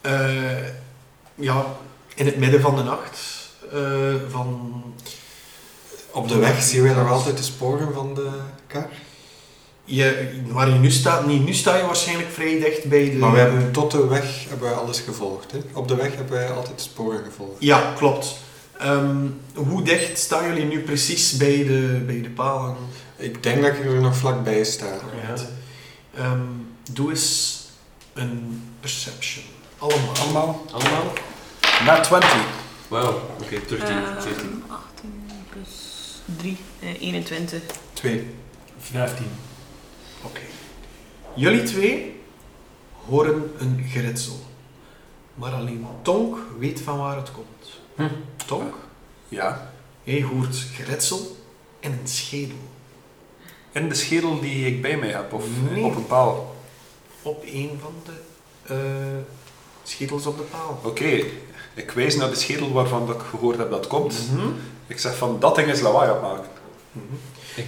A: eh, ja, in het midden van de nacht. eh, van,
E: Op de weg zien wij nog altijd de sporen van de kar.
A: je, waar je nu staat, niet, nu sta je waarschijnlijk vrij dicht bij de...
E: Maar we hebben tot de weg hebben wij alles gevolgd. Hè? Op de weg hebben wij altijd de sporen gevolgd.
A: Ja, klopt. Ehm, hoe dicht staan jullie nu precies bij de, bij de palen?
E: Ik denk dat ik er nog vlakbij sta.
A: Ja. Ehm, doe eens een perception. Allemaal.
E: Allemaal?
D: Allemaal?
C: Na 20.
D: Wauw. Oké, terug
F: Ehm, 18 plus eh, 3, 21.
E: Twee.
B: 15.
A: Oké. Jullie twee horen een geritsel. Maar alleen Tonk weet van waar het komt.
D: Hm.
A: Tonk,
C: Ja.
A: jij hoort geritsel en een schedel.
C: In de schedel die ik bij mij heb, of
A: Nee.
C: op een paal.
A: Op een van de eh, schedels op de paal.
C: Oké, ik wijs naar de schedel waarvan dat ik gehoord heb dat komt.
A: Mhm.
C: Ik zeg van, dat ding is lawaai aan het maken.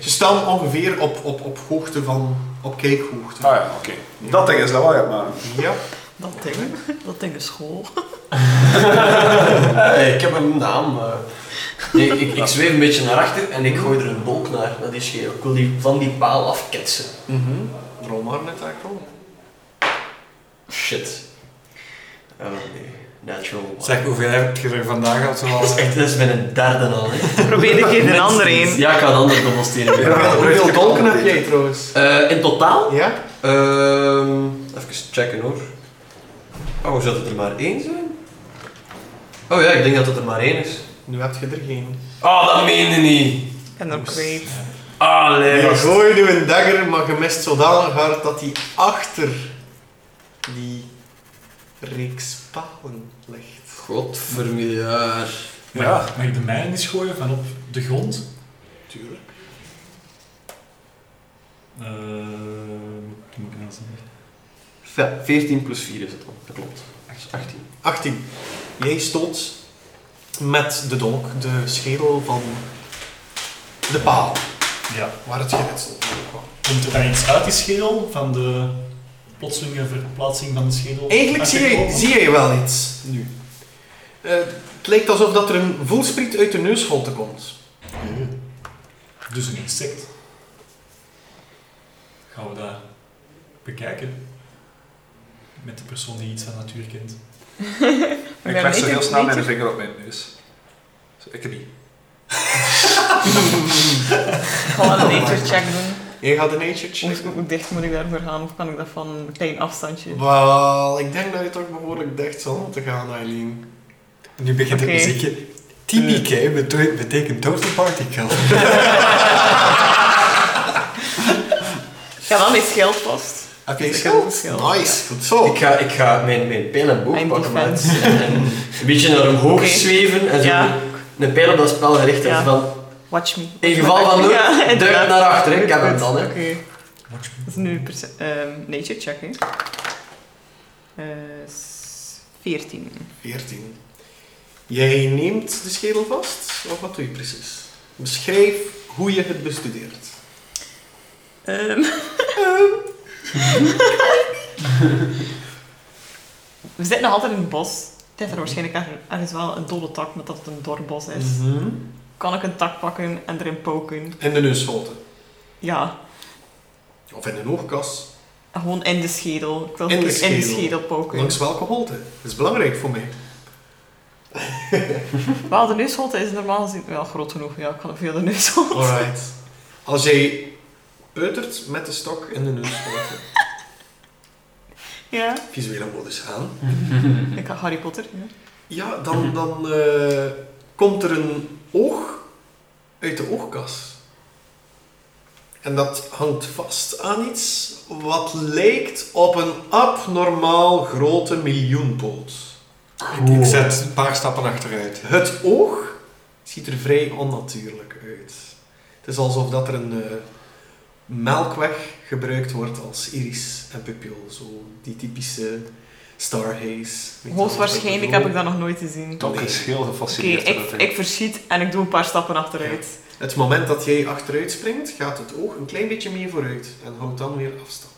A: Ze staan ongeveer op, op, op hoogte van... op kijkhoogte.
C: Ah ja, oké. Dat ding is lawaai aan het maken.
A: Ja.
F: Dat ding, dat ding is school.
D: ik heb een naam. eh. Nee, ik, ik zweef een beetje naar achter en ik gooi er een bolk naar, naar die scheel. Ik wil die van die paal afketsen.
A: Mhm. Rol maar net eigenlijk
D: Shit. Oh nee. Natural one.
E: Zeg, hoeveel heb je er vandaag gehad?
D: Dat is
E: Zoals
D: echt, dat is mijn derde al. Hè.
F: Probeer een keer een ander een.
D: Ja, ik ga een ander dobbelstenen
C: Ja.
D: gebruiken.
A: Hoeveel dolken heb jij trouwens?
D: Eh, in totaal?
A: Ja?
D: Ehm, even checken hoor. Oh, zou het er maar één zijn? Oh ja, ik denk dat het er maar één is.
A: Nu heb je er geen.
D: Oh, dat meen je niet.
F: En dan creep.
D: Allee,
A: Je
D: gast.
A: gooit Eh, nu een dagger, maar je mist zodanig hard dat die achter die reeks palen ligt.
D: Godvermiddaar.
B: Maar
C: Ja.
B: mag ik de mijne eens gooien van op de grond?
A: Tuurlijk.
B: Eh, wat moet ik nou zeggen?
D: Ve- 14 plus 4 is het dan, dat klopt. Dat is 18.
A: 18. Jij stoot met de dolk de schedel van de paal
B: Ja.
A: waar het geritsel van kwam.
B: Komt er dan iets uit die schedel? Van de plotselinge verplaatsing van de schedel?
A: Eigenlijk zie je,
B: Achterkomen?
A: zie je wel iets nu. Eh, het lijkt alsof dat er een voelspriet uit de neusholte komt.
B: Dus een insect. Gaan we dat bekijken? Met de persoon die iets van natuur kent.
C: Ik
F: Ja,
C: leg zo
F: weet
C: heel
F: ik-
C: snel
F: weet
C: mijn
F: ik-
C: vinger op mijn neus. Zo, Ik niet.
F: Ik ga een nature check
D: Oh.
F: doen.
A: Jij gaat een nature check.
F: Hoe, hoe dicht moet ik daarvoor gaan? Of kan ik dat van een klein afstandje?
A: Wel, ik denk dat je toch behoorlijk dicht zal moeten gaan, Eileen.
E: nu begint het
F: Oké.
E: muziekje. TBK beto- betekent Total Party Kill.
F: Ja, dan is geld vast.
A: Heb
F: Ik
A: je
F: heb
A: schild?
F: een schild,
A: Nice, goed zo.
D: Ik ga, ik ga mijn, mijn pijl en boog
F: Mijn
D: pakken
F: defense.
D: maat. en, en een beetje naar omhoog
F: Oké.
D: zweven en zo
F: Ja.
D: een pijl op dat spel gericht.
F: Ja.
D: en Van,
F: Watch me.
D: in geval van nood,
F: Ja,
D: duik
F: inderdaad.
D: naar achter. hè. Ik heb
F: Goed,
D: hem dan. Hè.
F: Oké. Dat is nu perce- ehm, nature check, hè. Eh, s- 14.
A: 14. Jij neemt de schedel vast, of wat doe je precies? Beschrijf hoe je het bestudeert.
F: Ehm. We zitten nog altijd in het bos. Het is er waarschijnlijk erg- ergens wel een dode tak, maar dat het een dorbos is.
A: Mhm.
F: Kan ik een tak pakken en erin poken?
A: In de neusholte.
F: Ja,
A: Of in een oogkas.
F: gewoon in de schedel. Ik wil
A: In de
F: in de
A: schedel.
F: schedel poken.
A: Langs welke holte? Dat is belangrijk voor mij.
F: Wel, de neusholte is normaal gezien wel groot genoeg. Ja, ik kan ook via de neusholte.
A: Alright. Als jij peutert met de stok in de neusholte,
F: Ja,
A: visuele modus aan,
F: ik ga Harry Potter. Ja.
A: Ja, dan, dan eh, komt er een oog uit de oogkas. En dat hangt vast aan iets wat lijkt op een abnormaal grote miljoenpoot.
E: Ik, ik zet een paar stappen achteruit.
A: Het oog ziet er vrij onnatuurlijk uit. Het is alsof dat er een eh, melkweg gebruikt wordt als iris en pupil. Zo die typische starhaze.
F: Hoogstwaarschijnlijk heb ik dat nog nooit gezien.
C: Toch
A: Nee.
C: is heel
F: Oké,
C: gefascineerd.
F: ik,
C: door dat
F: ik verschiet en ik doe een paar stappen achteruit.
A: Het moment dat jij achteruit springt, gaat het oog een klein beetje meer vooruit en houdt dan weer afstand.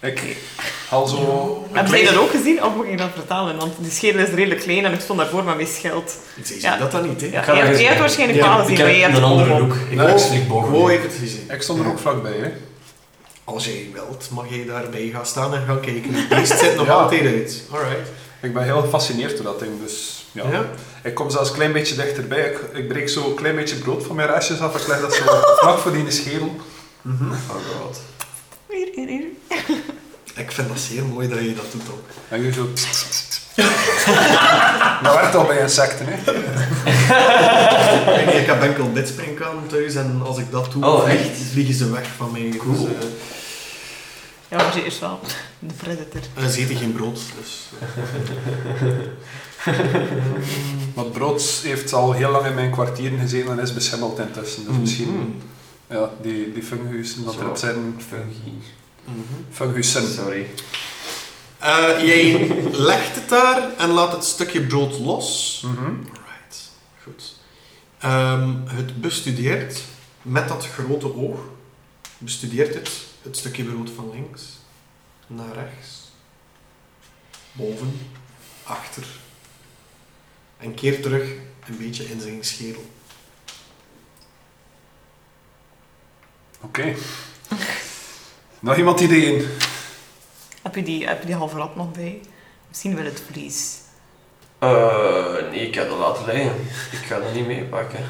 C: ding. Ik haal zo... een
F: Heb jij
C: klein-
F: dat ook gezien of moet ik dat vertalen? Want die schedel is redelijk klein en ik stond daarvoor met mijn schild.
A: Ik zie
F: Ja.
A: dat dan niet, hè?
F: Ja,
D: ga
F: jij
D: dat
F: hebt-
D: eens
F: jij hebt waarschijnlijk
A: Ja,
F: wel
D: ik
F: gezien,
D: heb
F: maar jij hebt
D: een
F: het
D: andere
F: oog op.
D: look. Ik
A: Nou,
D: heb slik boog.
A: Gewoon even het gezien.
C: Ik stond er ook vlakbij, hè.
A: Als jij wilt, mag jij daarbij gaan staan en gaan kijken. Het beest zit nog
C: Ja.
A: altijd uit. Alright.
C: Ik ben heel gefascineerd door dat ding, dus ja.
A: Ja.
C: Ik kom zelfs een klein beetje dichterbij. Ik, ik breek zo een klein beetje brood van mijn restjes af. Ik leg dat zo vlak voor die schedel.
D: Oh god.
F: Hier, hier, hier.
A: Ik vind dat zeer mooi dat je dat doet ook.
C: En nu zo... dat werkt al bij insecten, hè.
A: Ik denk, ik heb enkel dit springkaan thuis en als ik dat doe,
D: Oh, echt?
A: vliegen ze weg van mij. Cool. Dus, eh,
F: Ja, maar ze is wel de predator.
A: en eh, ze eten geen brood, dus... eh.
C: Want brood heeft al heel lang in mijn kwartieren gezeten en is beschimmeld intussen. Dus misschien... Ja, die, die fungus, dat
D: Zo.
C: erop zijn...
D: Fungi.
A: Mhm.
C: Fungussen.
D: Sorry.
A: Eh, jij legt het daar en laat het stukje brood los.
C: Mhm.
A: Right, goed. Ehm, het bestudeert met dat grote oog, bestudeert het het stukje brood van links naar rechts, boven, achter en keert terug een beetje in zijn schedel.
C: Oké. Nog iemand ideeën?
F: Heb je die, heb je die halve rat nog bij? Misschien wil het vlies.
D: Eh, nee, ik heb dat laten liggen. Ik ga dat niet meepakken.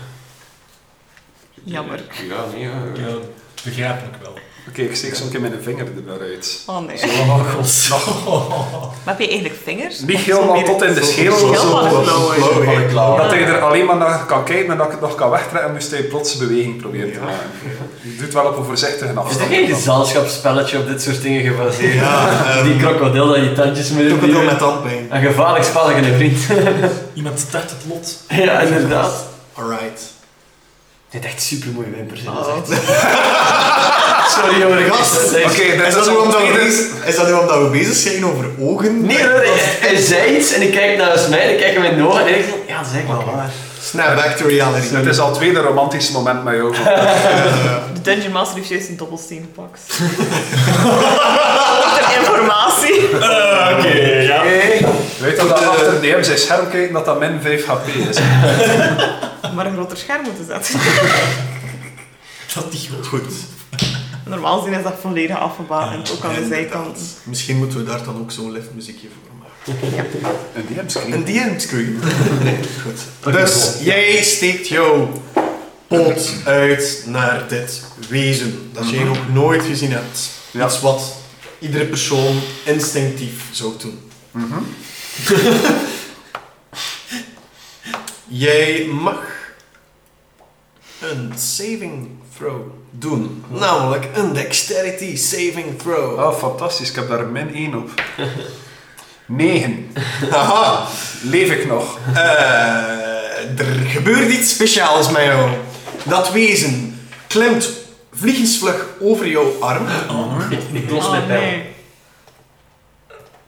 F: Jammer.
D: Ja, nee. ja.
B: Ja, begrijpelijk wel.
C: ik steek zo'n keer mijn vinger eruit.
F: Oh nee.
B: Oh god.
F: Maar heb je eigenlijk vingers?
C: Niet
F: Of zo
C: helemaal
F: meer-
C: tot in de schedel.
F: Schil
C: Zo,
F: van een klauw is.
D: Van de klauwen.
C: dat je er alleen maar naar kan kijken en dat ik het nog kan wegtrekken, en moest hij plots beweging proberen te maken. Je doet wel op een voorzichtige
D: Is
C: afstand.
D: er geen gezelschapsspelletje op dit soort dingen gebaseerd?
A: Ja, ehm,
D: Die krokodil dat je tandjes moet
A: Krokodil
D: indienen.
A: met tandpijn.
D: Een gevaarlijk spelletje, hè, vriend.
B: Iemand start het lot.
D: ja, inderdaad.
A: Alright.
D: Dit is echt super mooie wimpers. hè, dat is
F: Oh.
D: echt- Sorry jongen,
A: Gast.
D: dat is echt-
C: Oké,
A: Is
C: dat is
A: dat, nu
C: al
A: omdat we,
C: tweede.
A: bezig- is dat nu omdat we bezig zijn over ogen?
D: Nee hoor, hij, hij zei iets en ik kijk naast mij en ik kijk hem in de ogen en ik denk, ja dat is echt wel waar.
A: Snap back to reality.
C: Het is al het tweede romantische moment met jou.
F: De Dungeon Master heeft juist een dobbelsteen gepakt. Ter informatie.
B: Oké, ja.
C: Weet je dat achter DM zijn scherm kijken dat dat min 5 HP is?
F: Maar een groter scherm moeten zetten.
B: Dat is goed.
A: Goed.
F: Normaal gezien is dat volledig afgebakend, ook aan de zijkanten.
A: Misschien moeten we daar dan ook zo'n lift muziekje voor maken.
C: Een DM
A: Een
C: screen.
A: DM-screen. Nee, goed. Dus jij steekt jouw pot uit naar dit wezen dat jij nog nooit gezien hebt.
C: Ja.
A: Iets wat iedere persoon instinctief zou doen. jij mag een saving throw doen. Namelijk een dexterity saving throw.
C: Oh, fantastisch. Ik heb daar een min 1 op. 9.
A: Haha.
C: Leef ik nog?
A: Eh, er gebeurt iets speciaals met jou. Dat wezen klimt vliegensvlug over jouw arm.
D: Ik los mijn
F: Oh
D: pijl.
F: nee.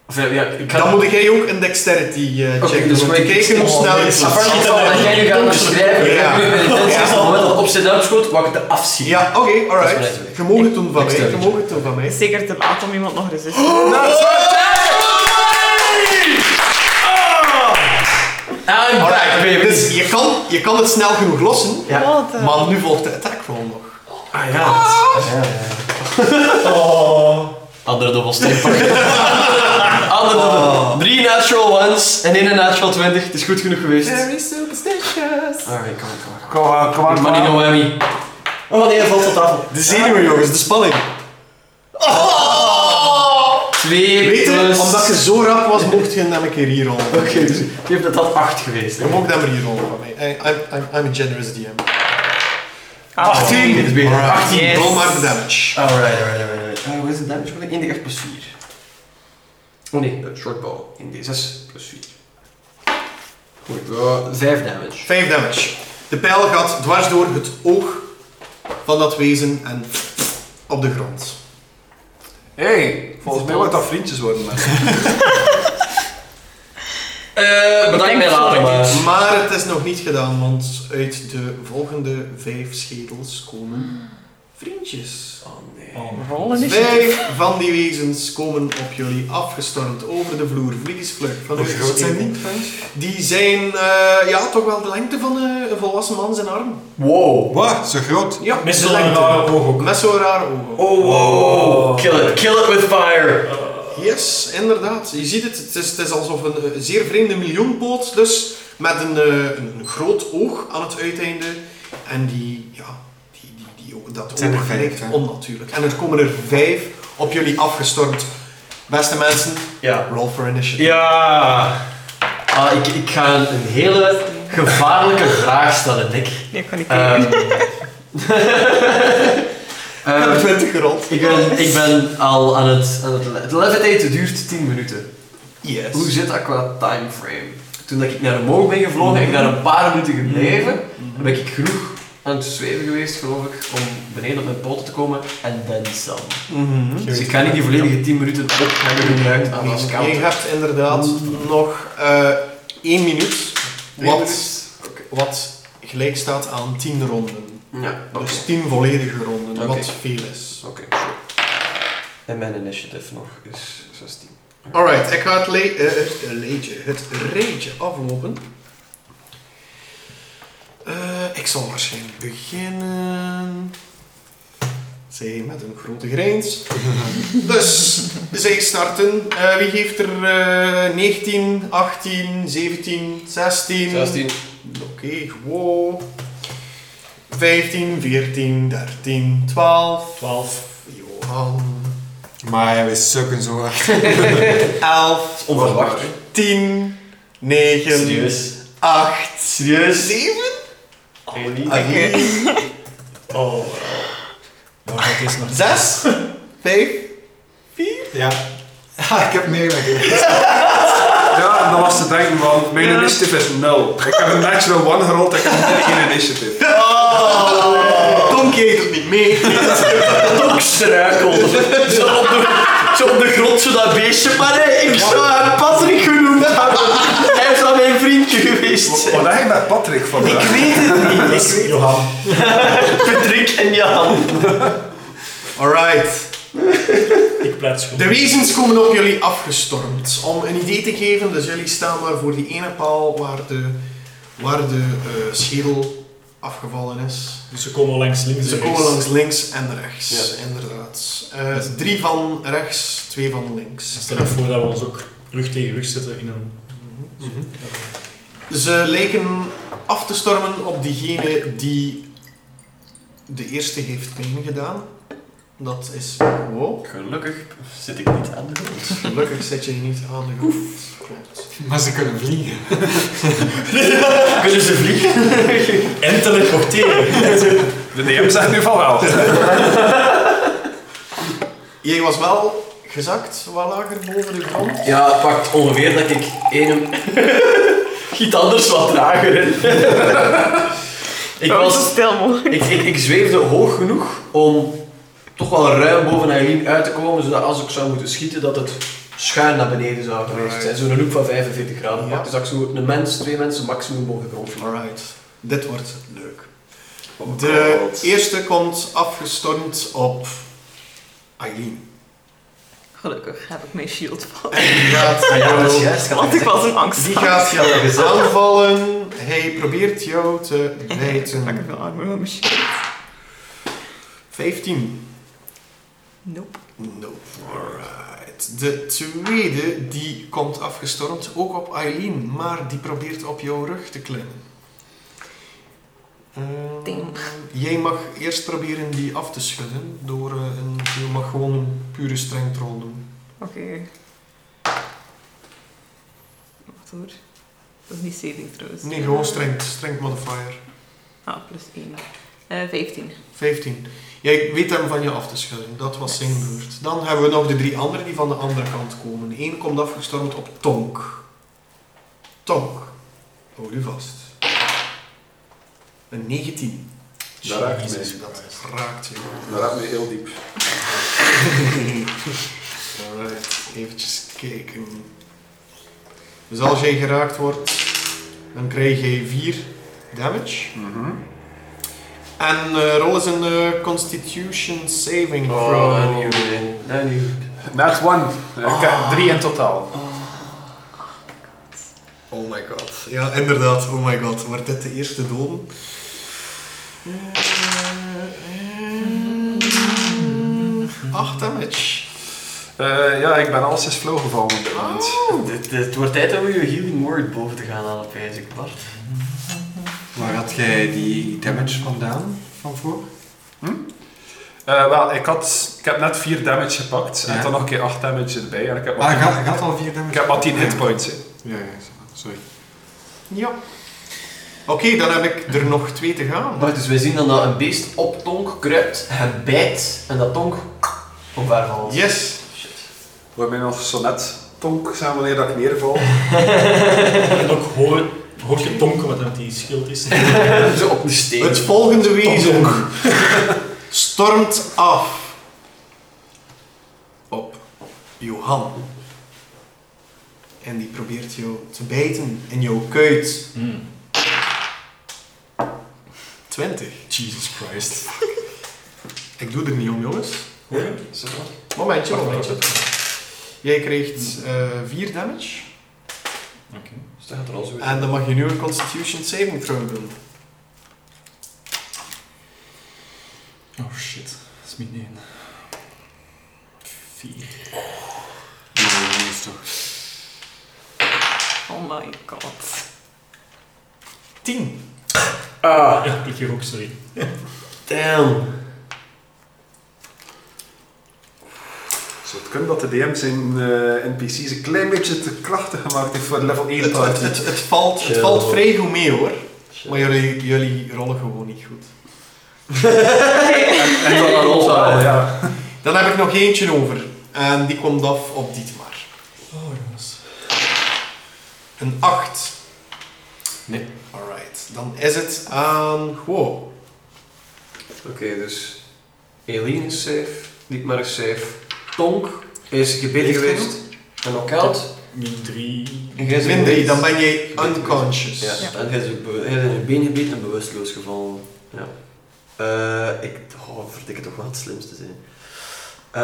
D: Of ja, ja, ik
A: Dan
D: ga...
A: moet jij ook een dexterity eh,
D: Oké,
A: check
D: dus
A: doen. om te
D: moet ik-
A: kijken hoe
D: oh,
A: snel
D: nee,
A: het is.
D: Afhankelijk van wat jij nu gaat beschrijven, ik
A: Ja.
D: heb nu mijn intentie
A: Ja.
D: is van dat op zijn duim schoot, wat ik het afschiet.
A: Ja, oké,
D: Dat is
A: alright.
D: mijn-
A: Je mag het doen van mij. Je
D: Dexterity. Oh!
A: mag het doen van
F: Het
A: mij.
F: is zeker te laat om iemand nog resist te
D: I'm Ah, back
A: Alright,
D: baby.
A: dus je kan, je kan het snel genoeg lossen,
D: Ja.
F: Wat? eh,
A: maar nu volgt de attack roll nog.
D: Ah ja. Ah, ja, ja. Andere dobbelsteen pakken. Andere dobbel. Drie natural ones en één natural 20. Het is goed genoeg geweest.
F: Very superstitious.
D: Alright, kom maar, kom
C: Kom maar, kom
D: maar.
C: maar.
D: Money no whammy. Oh nee, hij valt op tafel.
A: De zenuwen, jongens, de spanning.
D: Twee
A: Weet je,
D: plus...
A: omdat je zo rap was, mocht je hem een keer hier rollen.
D: Oké, dus ik heb dat dat acht geweest.
A: Je mocht hem hier rollen van mij. I- I'm, I'm, I'm a generous DM. Oh.
F: Ah,
D: Dit is beter.
A: Alright.
D: 18.
F: Yes.
A: Roll maar de damage.
D: Alright, alright, alright. alright. Eh, Wat is de damage? Wat is de 1d8 plus 4? Oh nee, eh, short bow. 1d6 plus 4. Goed, eh, 5 damage.
A: 5 damage. De pijl gaat dwars door het oog van dat wezen en op de grond.
C: Hé, hey, volgens mij wordt dat vriendjes worden. mensen.
D: Eh, bedankt
F: Ik
D: mij
F: denk
D: later, maar...
F: voor
A: Maar het is nog niet gedaan, want uit de volgende 5 schedels komen vriendjes.
D: Oh nee.
F: Rollen is
A: Vijf van die wezens komen op jullie afgestormd over de vloer, vliegensvlug. Van
E: Hoe
A: uw
E: groot zijn
A: schedel.
E: die? Frank?
A: Die zijn eh, ja, toch wel de lengte van eh, een volwassen man zijn arm.
D: Wow.
E: Wat? Zo groot?
A: Ja,
B: Met
A: de
B: zo'n
A: lengte.
B: rare oog ook.
A: Met zo'n raar oog.
D: Oh, wow. Kill it, kill it with fire.
A: Yes, inderdaad. Je ziet het, het is, het is alsof een eh, zeer vreemde miljoenpoot, dus met een, eh, een groot oog aan het uiteinde. En die, ja, die, die, die, dat
E: zijn er
A: oog
E: vijf,
A: lijkt
E: hè?
A: onnatuurlijk. En er komen er vijf op jullie afgestormd. Beste mensen,
D: Ja.
A: roll for initiative.
D: Ja. Ah, ik, ik ga een, een hele gevaarlijke vraag stellen, Nick.
F: Nee, ik kan niet kijken.
D: Ehm.
A: Ik heb
D: Ehm,
A: 20 gerold.
D: ik, ben, ik ben al aan het... Aan het, le- het levitate duurt 10 minuten.
A: Yes.
D: Hoe zit dat qua timeframe? Toen dat ik naar omhoog ben gevlogen, ben ik daar een paar minuten gebleven. Dan ben ik genoeg aan het zweven geweest, geloof ik, om beneden op mijn poten te komen. En dan some.
A: Mhm.
D: Dus ik ga niet die volledige 10 minuten op hebben gebruikt aan als
A: Je
D: counter.
A: hebt inderdaad
E: Mhm.
A: nog eh één minuut,
D: Twee
A: wat,
D: minuten?
A: wat gelijk staat aan 10 ronden.
D: Ja, oké.
A: Dus 10 volledige ronden,
D: Oké.
A: wat veel is.
D: Oké, sure. En mijn initiative nog is 16.
A: Alright, ik ga het, le eh, het leedje, het reetje aflopen. Eh, ik zal waarschijnlijk beginnen. Zij met een grote grijns. dus zij starten. Eh, wie heeft er eh, 19, 18, 17, 16?
D: 16.
A: Oké, wow. 15, 14, 13, 12.
B: 12.
A: Johan.
E: Maar we sukken zo hard.
A: 11,
D: Onverwacht.
A: 10, 9,
D: Serieus.
A: 8,
D: Serieus.
A: 7.
D: Ah, hier.
A: 8,
B: Oh. Nou, dat is nog
A: 6, 5,
E: Ja. Ha, ik heb meer weg.
C: Ja, en dan was te denken van, mijn initiative is 0. Ik heb een natural one gerold, ik heb geen initiative.
A: Oh, Donkey heeft het niet mee.
D: Ook struikelde. Zo op de, zo op de grond, zo dat beestje. Maar nee, ik zou haar Patrick genoemd hebben. Hij zou mijn vriendje geweest
C: Wat-
D: zijn.
C: Wat heb je met Patrick vandaag?
D: weet het niet.
B: Johan.
D: Patrick en Jan.
A: Alright.
B: Ik pleit schuld.
A: De wezens komen op jullie afgestormd. Om een idee te geven, dus jullie staan maar voor die ene paal waar de, waar de eh, schedel afgevallen is.
B: Dus ze komen langs links en
A: Ze
B: rechts.
A: komen langs links en rechts,
D: Ja.
A: inderdaad. Eh, drie van rechts, twee van links.
B: Stel je voor dat we ons ook rug tegen rug zitten in een...
A: Ze lijken af te stormen op diegene die de eerste heeft pijn gedaan. Dat is wow.
D: Gelukkig zit ik niet aan de grond.
A: Gelukkig zit je niet aan de grond. Klopt.
E: Maar ze kunnen vliegen.
D: Kunnen ze vliegen?
B: En teleporteren.
C: De DM zegt nu van wel.
A: Jij was wel gezakt, wat lager boven de grond.
D: Ja, het pakt ongeveer dat ik één... Giet anders wat trager in. ik
F: Oh,
D: was...
F: Zo stil mogelijk.
D: Ik, ik, ik zweefde hoog genoeg om toch wel ruim boven Eileen uit te komen, zodat als ik zou moeten schieten, dat het schuin naar beneden zou geweest zijn. Zo'n hoek van 45 graden.
A: Ja.
D: Dus dat ik zo een mens, twee mensen maximum boven de grond vlieg.
A: Alright, dit wordt leuk. De eerste komt afgestormd op Aileen.
F: Gelukkig heb ik mijn shield van.
A: En die gaat
D: Ah ja, dat is
A: jou,
D: juist.
F: Want ik was een angst.
A: die gaat jou aanvallen. Hij probeert jou te bijten.
F: Lekker veel armen met mijn shield.
A: 15.
F: Nope.
A: Nope. Alright. De tweede die komt afgestormd, ook op Aileen, maar die probeert op jouw rug te klimmen. Ehm,
F: Ding.
A: jij mag eerst proberen die af te schudden door eh, een. Je mag gewoon een pure strengtrol doen.
F: Oké. Wacht hoor. Dat is niet saving trouwens.
A: Nee, gewoon strength, strength modifier.
F: Ah, plus 1. Eh 15.
A: 15. Jij weet hem van je af te schudden, dat was zijn beurt. Dan hebben we nog de drie anderen die van de andere kant komen. Eén komt afgestormd op Tonk. Tonk. Hou u vast. Een 19.
C: Dat raakt
B: Jezus
C: mij.
A: Dat
B: Christ.
A: raakt je.
C: Dat raakt me heel diep.
A: Alright, eventjes kijken. Dus als jij geraakt wordt, dan krijg je 4 damage. En eh, rol is een eh, Constitution saving throw.
D: Nee, nee.
C: Net one. Eh, Ah. Ik heb drie in totaal.
A: Oh my god. Ja, inderdaad. Oh my god. Wordt dit de eerste Eh, doden? eh, Acht damage.
C: Eh, ja, ik ben al sinds flow gevallen op dit moment.
D: Dit- dit- Het wordt tijd om je healing word boven te gaan halen, pijs ik, Bart.
E: Waar had jij die damage vandaan? Van voor?
C: Eh, wel, ik, had, ik heb net 4 damage gepakt en
E: Ja.
C: dan nog een keer 8 damage erbij. En ik heb maar,
E: Maar ik
C: tien-
E: had, ik had Ah, al vier damage.
C: ik heb maar 10
E: Ja.
C: hitpoints. hè.
E: Ja, ja, sorry.
A: Ja. Oké, dan heb ik er nog twee te gaan.
D: Maar dus wij zien dan dat een beest op Tonk kruipt, hij bijt en dat Tonk omver valt.
A: Yes.
C: Voor mij nog zo net tonk zijn wanneer dat ik neerval.
B: En ook hoor, hoort je tonken wat met die schild is.
D: Zo op de steen.
A: Het volgende wezen stormt af op Johan. En die probeert jou te bijten in jouw kuit.
B: Hmm.
A: 20.
B: Jesus Christ.
A: Ik doe er niet om, jongens.
B: Hoor je?
A: Momentje,
B: Wacht,
A: momentje.
B: wacht, wacht.
A: Jij krijgt 4 damage.
B: Oké.
D: Dus dat gaat er al zo
A: En dan mag je nu een Constitution saving throw doen.
B: Oh shit. Dat is is min 1. 4.
E: Nee, dat is toch.
F: Oh my god.
A: Tien.
D: Ah,
B: Ja, ik hier ook, sorry.
D: damn.
C: Zou het kunnen dat de DM zijn eh, NPC's een klein beetje te krachtig gemaakt heeft voor level 1
A: Het, het,
C: party?
A: het, het valt, het
D: Ja.
A: valt vrij goed mee hoor. Maar jullie, jullie rollen gewoon niet goed.
C: En dan een
D: Roze,
C: roze,
D: ja.
C: ja.
A: Dan heb ik nog eentje over. En die komt af op Dietmar.
B: Oh, jongens.
A: Een 8.
E: Nee.
A: Alright. Dan is het aan Guo.
D: Oké, dus Eline is safe, Dietmar is safe, Tonk is gebeten
A: Heeft hij
D: geweest en ook koud.
B: Min 3.
A: Min 3, dan ben jij unconscious.
D: Ja, en Dus hij is, ook bewu- hij is in zijn been gebeten en bewusteloos gevallen. Ja. Eh, ik oh, verdikke toch wel het slimste zijn. Eh,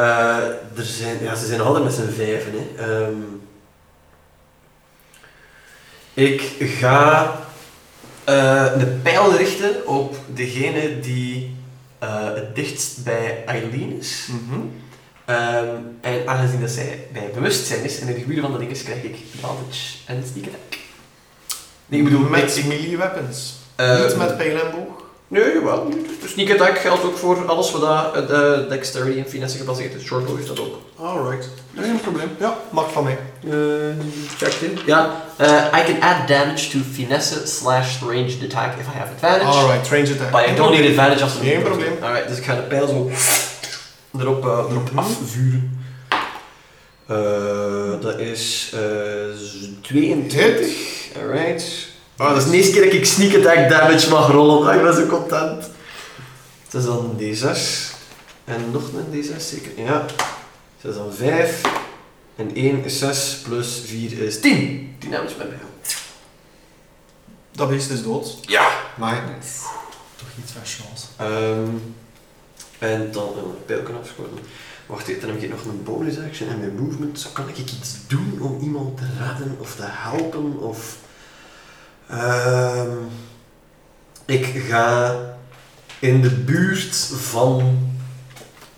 D: er zijn ja, ze zijn altijd met z'n vijven. Hè. Ehm, ik ga eh de pijl richten op degene die eh, het dichtst bij Eileen is.
A: Mhm.
D: Ehm, en aangezien dat zij bij bewustzijn is en in de gebieden van de dinges, krijg ik advantage en sneak attack. Nee, ik bedoel,
A: met
D: ik-
A: melee weapons.
D: eh,
A: Niet met pijl en boog.
D: Nee, jawel. De sneak attack geldt ook voor alles wat daar, eh, de dexterity en finesse gebaseerd is. Short bow heeft dat ook.
A: Alright. Dat is geen probleem. Ja, mag van mij. Eh,
D: Check in. Ja. eh, I can add damage to finesse slash ranged attack if I have advantage.
A: Alright, range attack.
D: But I don't need advantage als
A: Geen probleem. Mhm.
D: Alright, dus ik ga de pijl zo erop, eh, erop afvuren. Eh, dat is eh, z- 22. Alright. Oh,
A: Ah,
D: dat is de eerste keer dat ik sneak attack damage mag rollen. Ah, ik ben zo content. Het is dan D6. En nog een D6 zeker. Ja. Dat is dan 5. En 1 is 6 plus 4 is 10. 10 damage bij mij.
A: Dat beest is dood.
D: Ja.
A: Maar
B: Toch iets van chance.
D: Ehm, en dan een pijl kunnen afschoten. Wacht even, dan heb ik nog een bonus action en mijn movement. Kan ik iets doen om iemand te redden of te helpen? Of... Ehm, ik ga in de buurt van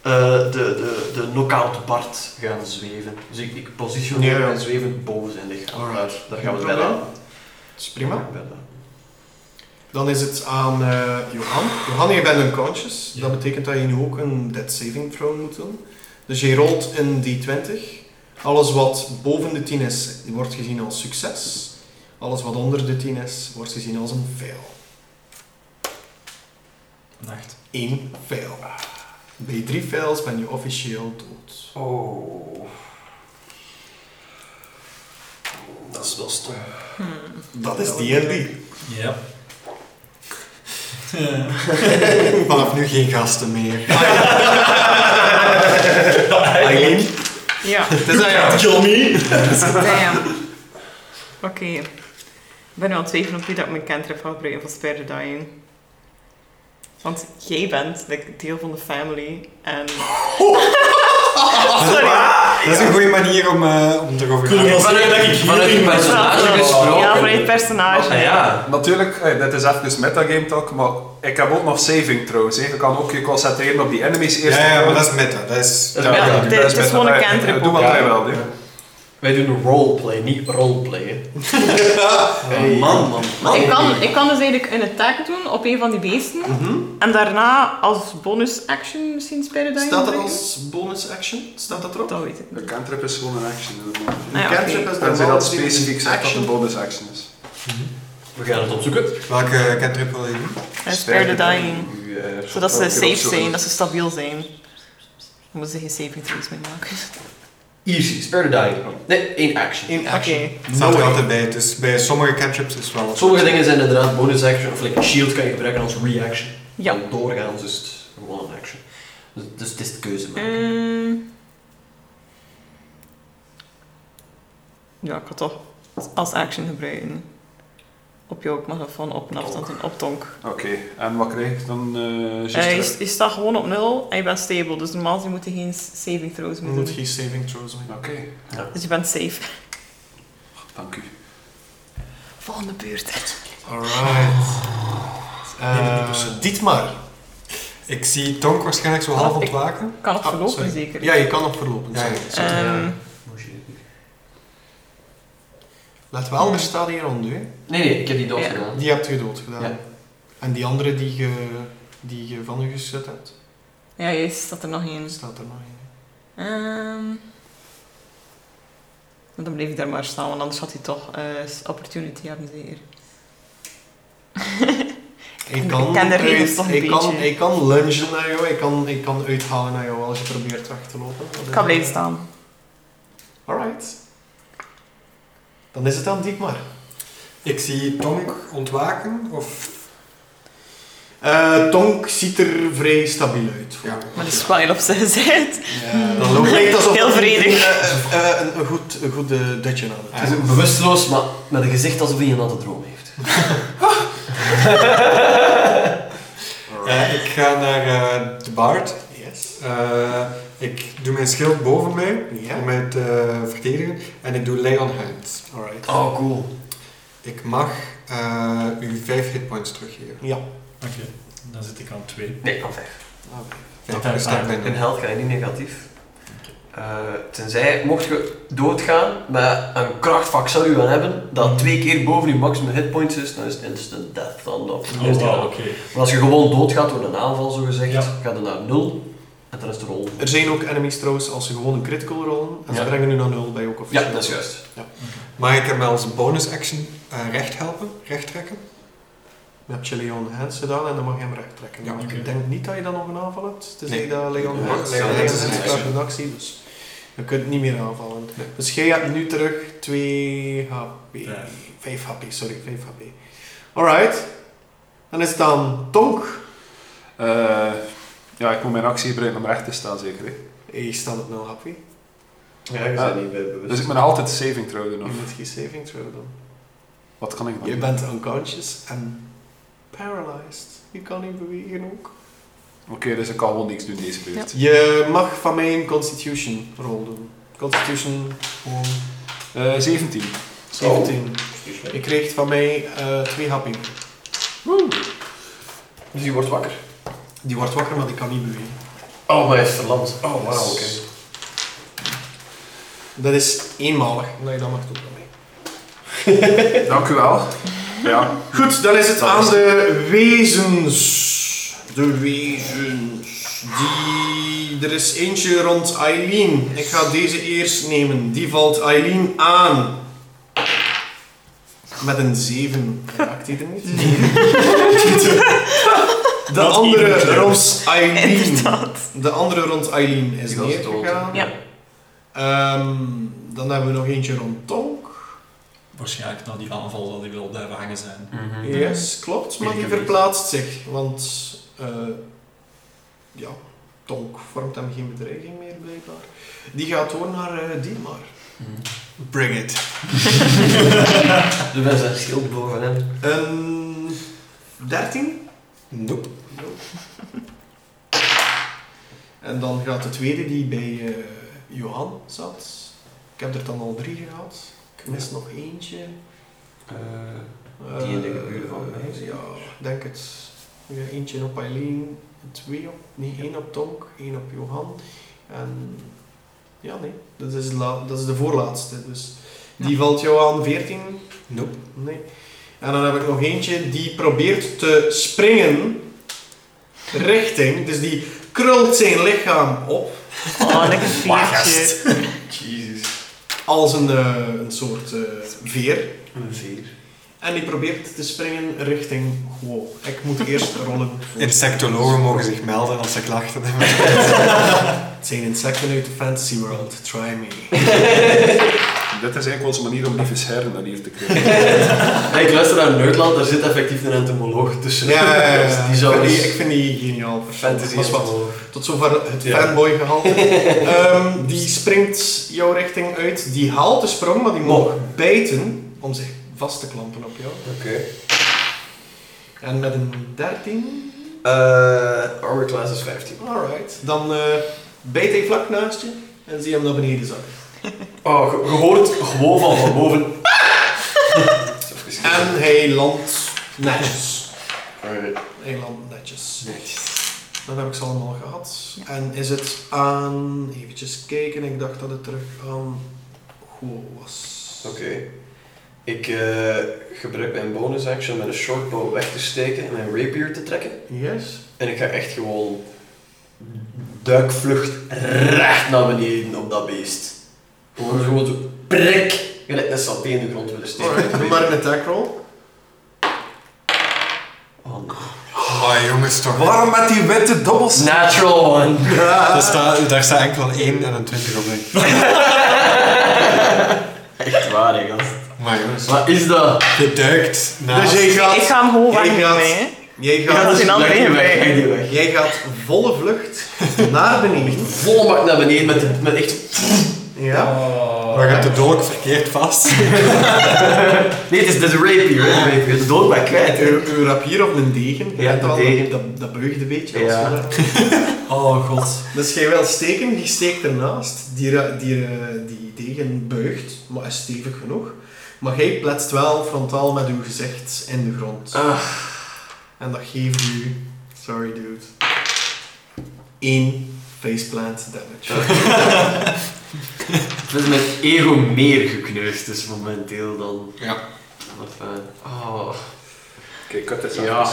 D: eh, de, de, de knockout Bart gaan zweven. Dus ik, ik positioneer
A: Ja, ja.
D: en zweven boven zijn lichaam.
A: Alright.
D: Daar gaan we
A: Geen
D: bij
A: probleem.
D: aan.
A: dat is prima.
D: Daar gaan we het
A: Dan is het aan eh, Johan. Johan, je bent unconscious.
B: Ja.
A: Dat betekent dat je nu ook een dead saving throw moet doen. Dus je rolt een d20. Alles wat boven de 10 is, wordt gezien als succes. Alles wat onder de 10 is, wordt gezien als een fail.
B: Een 8.
A: Eén fail. Bij drie fails ben je officieel dood.
D: bij. Oh. Dat is wel stom.
F: Hmm.
A: Dat is D&D.
B: Ja.
E: Vanaf nu geen gasten meer.
A: Eileen,
F: Ja,
A: het is aan jou.
B: Kill me!
F: damn. Oké. Ik ben wel twijfelen op wie dat ik mijn cantrip ga gebruiken voor Spare the Dying. Want jij bent like, deel van de family en... Sorry.
E: Dat is een goede manier om, eh om erover te
B: Kunnen we
E: gaan.
B: wel zeggen dat ik
D: Vanuit je
B: hier ben?
D: personage gesproken.
F: Ja, voor het personage.
D: ja.
C: Natuurlijk, eh, dit is even metagame talk, maar ik heb ook nog saving throws. hè. Je kan ook je concentreren op die enemies eerst.
E: Ja, ja, maar dat is meta. Dat is...
D: Dat is
C: Ja,
D: meta.
C: ja,
D: Dit-
C: dat
F: dit is gewoon een
C: meta. Ja,
F: cantrip
C: Doe wat
D: ook.
C: jij
D: Ja.
C: wel, hè.
D: Wij doen roleplay, niet roleplay. hè. Oh, man, man, man.
F: Ik kan, ik kan dus eigenlijk een attack doen op een van die beesten. En daarna als bonus action misschien Spare the Dying
A: Staat dat
F: gebruiken.
A: als bonus action? Staat dat erop?
F: Dat weet ik
C: Een
F: niet.
C: cantrip is gewoon een action.
F: Ah ja,
A: Cantrip
F: oké.
A: is
C: Tenzij
A: normaal
C: dat
A: gezien
C: specifiek
A: een
C: zegt dat
A: action.
C: een bonus action is.
D: We gaan het opzoeken.
E: Welke cantrip wil je doen?
F: En Spare the Dying.
D: eh,
F: Zodat ze
C: Welke
F: safe
C: opzoeken?
F: zijn, dat ze stabiel zijn. Dan moeten ze geen saving throws meer maken.
D: Easy, spare the dying. Nee, één action.
A: In
F: Oké.
A: action.
E: Het staat er
A: way.
E: altijd bij. Dus bij sommige cantrips is het wel...
D: Sommige dingen zijn inderdaad bonus action, of like shield kan je gebruiken als reaction.
F: Ja.
D: En doorgaans is het gewoon een action. Dus, dus het is de keuze maken.
F: Mm. Ja, ik had toch als action gebruiken. Op je ook mag van op een afstand en op tonk.
C: Oké, en wat krijg ik dan? eh juist
F: Eh,
C: terug?
F: je, je staat gewoon op nul en je bent stable, dus normaal gezien moet je geen saving throws
A: Je
C: Mm.
F: meer
A: moet
F: doen.
A: geen saving throws maken.
C: Oké,
F: Dus je bent safe.
C: dank u.
F: Volgende beurt.
A: Alright.
B: Neem het niet
A: Eh
B: persoonlijk.
A: Dietmar.
E: Ik zie Tonk waarschijnlijk zo half
F: Ah, ik-
E: ontwaken.
F: Kan nog
A: Ah,
F: verlopen,
A: sorry.
F: zeker?
A: Ja, je kan op verlopen.
E: Ja,
A: sorry.
E: ja.
F: Ehm,
A: Let wel, er staat hier onder. Hè.
D: Nee, nee, ik heb die dood
F: Ja.
D: gedaan.
A: Die hebt je dood gedaan.
D: Ja.
A: En die andere die je, die je van je gezet hebt,
F: ja, juist, staat er nog één.
A: staat er nog in.
F: Ehm, maar dan bleef ik daar maar staan, want anders had hij toch eh, opportunity hebben, zeker.
A: Ik
F: Ik
A: kan,
F: ken de regels
A: uit-
F: toch een
A: ik kan,
F: beetje.
A: ik kan lungen naar jou, ik kan, ik kan uithalen naar jou als je probeert weg te lopen. Dat
F: Ik
A: is-
F: kan blijven staan.
A: Alright. Dan is het aan Diekmar.
E: Ik zie Tonk ontwaken of...
A: Eh Tonk ziet er vrij stabiel uit.
E: Ja.
F: Maar die is wel heel op zijn gezet.
A: Dan loopt lijkt alsof
F: Heel vredig.
A: eh, eh, een, een goed, een goed eh, dutje aan het
D: Hij is ook bewusteloos, maar met een gezicht alsof hij een natte droom heeft.
E: Eh, ik ga naar eh, de baard.
A: Yes.
E: Eh, ik doe mijn schild boven mij om
A: Ja.
E: mij te eh, verdedigen. En ik doe lay on hands.
A: Alright.
D: Oh, cool.
E: Ik mag eh, u 5 hitpoints teruggeven.
A: Ja.
B: Oké, dan zit ik aan twee.
D: Nee, kan vijf.
E: Vijf
B: Oké,
E: dus daar ben ik.
D: In held ga je niet negatief. Eh, tenzij, mocht je doodgaan met een krachtvak zou je aan hebben, dat twee keer boven je maximum hitpoints is, dan is het instant death dan. Of dan is
B: Oh,
D: het
B: wauw,
D: gedaan.
B: oké.
D: Maar als je gewoon doodgaat door een aanval, zogezegd,
B: Ja.
D: gaat het naar nul en dan is de rol.
A: Er zijn ook enemies trouwens als ze gewoon een critical rollen. En ze
D: Ja.
A: brengen nu naar nul bij ook
D: Ja,
A: officieel.
D: dat is juist.
E: Mag ik hem als bonus action eh, recht helpen? Recht trekken?
A: Dan heb je Leon Hens gedaan en dan mag je hem recht trekken.
E: Ja,
A: Maar
B: oké.
A: Ik denk niet dat je dan nog een aanval hebt. Het is
E: Nee.
A: niet dat Leon
E: Ja,
A: Hens
E: Leon
A: Leon
E: Hens
A: Hens
E: is
A: is
E: een
A: klaar
E: actie.
A: voor de actie, dus je kunt niet meer aanvallen.
E: Nee.
A: Dus jij hebt nu terug 2 HP.
B: Vijf.
A: 5 HP, sorry, 5 HP. Alright. Dan is het dan Tonk.
C: Eh, ja, ik moet mijn actie gebruiken om recht te staan, zeker. Hè?
A: Je staat op 0 HP.
D: Ja, je
C: bent
D: niet bewust.
C: Dus ik moet nog altijd saving throw doen,
A: Je
C: of
A: moet geen saving throw doen.
C: wat kan ik dan?
A: Je bent unconscious en paralyzed. Je kan niet bewegen ook.
C: Oké, dus ik kan gewoon niks doen deze beurt.
A: Je mag van mij een constitution rol doen. Constitution gewoon
C: Eh, 17.
A: 17. Je kreeg van mij eh 2 HP.
D: Dus je wordt wakker.
A: Die wordt wakker, maar die kan niet bewegen.
D: Oh, maar hij is verlamd. Oh,
A: Yes.
D: wauw, oké.
A: Dat is eenmalig. Nee, dat mag ook van mij.
C: Dank u wel. Ja.
A: Goed, dan is het
C: Dat
A: aan
C: is-
A: de wezens. De wezens. Die... Er is eentje rond Eileen. Ik ga deze eerst nemen. Die valt Eileen aan. Met een 7 raakt hij er niet. De
B: Dat iemand
A: andere
B: leuk.
A: rond Eileen.
F: Inderdaad.
A: De andere rond Eileen is
D: Die was dood.
A: neergegaan.
F: Ja.
A: Ehm, dan hebben we nog eentje rond Tonk.
B: Waarschijnlijk na die aanval zal hij wel blijven hangen zijn.
D: Mhm.
A: Yes, klopt, maar
B: Ik
A: die
B: heb
A: verplaatst zich, want eh, ja, Tonk vormt hem geen bedreiging meer blijkbaar. Die gaat door naar eh Dietmar.
D: Mhm.
E: Bring it.
D: Dus wij zijn schild boven hem.
A: Een 13?
E: Nope.
A: En dan gaat de tweede die bij eh, Johan zat. Ik heb er dan al drie gehad. Ik mis nog eentje.
D: Eh,
A: Eh,
D: Die in de buurt van mij, zie ik.
A: Ja, ik denk het. Ja, eentje op Eileen, twee op, nee, één op Tonk, één op Johan. En ja, nee, dat is, la, dat is de voorlaatste. Dus die valt jou aan 14?
E: Nope.
A: Nee. En dan heb ik nog eentje die probeert te springen richting, dus die krult zijn lichaam op
F: Oh, lekker viertje.
D: Jezus.
A: als een, eh, een soort eh, veer.
D: Een veer.
A: En die probeert te springen richting. Wow, ik moet eerst rollen. voor-
E: Insectologen mogen zich melden als ze klachten hebben.
A: Het zijn insecten uit de fantasy world, try me.
C: Dit is eigenlijk onze manier om lieve scherren naar hier te krijgen.
D: Hey, ik luister naar Nerdland, daar zit effectief een entomoloog tussen. Dus die zou
A: ik, vind
D: dus
A: die, ik vind die geniaal.
D: fantasy
A: Dat is wat.
D: entomoloog.
A: Tot zover het
D: Ja.
A: fanboy gehalte. Ehm, die springt jouw richting uit. Die haalt de sprong, maar die mag bijten om zich vast te klampen op jou.
D: Oké.
A: En met een 13,
D: Eh, armor class is 15.
A: alright. Dan eh bijt hij vlak naast je en zie je hem naar beneden zakken.
D: Oh, ge- je hoort gewoon van, van boven.
A: En hij landt netjes.
D: Alright.
A: Hij landt netjes.
D: Netjes.
A: Dat heb ik ze allemaal gehad. En is het aan... Eventjes kijken, ik dacht dat het terug aan... Goh was.
D: Oké. Ik eh, gebruik mijn bonus action met een shortbow weg te steken en mijn rapier te trekken.
A: Yes.
D: En ik ga echt gewoon duikvlucht recht naar beneden op dat beest. Gewoon gewoon zo prik. Gelijk een saté in de grond willen steken.
A: Alright, doe maar een attack roll.
D: Oh, nee.
E: Maar Oh, jongens, toch.
C: Waarom met die witte dobbels?
D: Natural one.
E: Daar staat, daar staat enkel een 1 en een 20 op, denk ik.
D: Echt waar, hè, gast.
E: Maar jongens,
D: Wat is dat?
E: je duikt naast.
A: Dus jij gaat...
F: Ik ga hem gewoon
A: jij gaat-
F: wegnemen, hè.
A: Jij
F: Ik ga
A: gaat...
F: dat geen andere
D: Leg die weg,
F: bij.
D: leg die weg.
A: Jij gaat volle vlucht naar beneden.
D: Volle bak naar beneden met, met echt...
A: Ja.
E: Maar je hebt de dolk verkeerd vast.
D: Nee, het is de rapier, hè. rapier. Het is dood maar kwijt, hè.
A: Uw, uw rapier of een degen.
D: Ja,
A: weet
D: een
A: wel,
D: degen.
A: Dat, dat buigt een beetje.
D: Ja.
A: als het ware.
B: Oh god.
A: Dus jij wil steken, die steekt ernaast. Die, ra- die, eh, die degen buigt, maar is stevig genoeg. Maar jij pletst wel frontaal met uw gezicht in de grond.
D: Ah,
A: En dat geeft u... Sorry, dude. één faceplant damage.
D: ik ben mijn ego meer gekneusd dus momenteel dan...
E: Ja.
D: Wat fijn. Oh.
C: Oké, kut dit
D: Ja.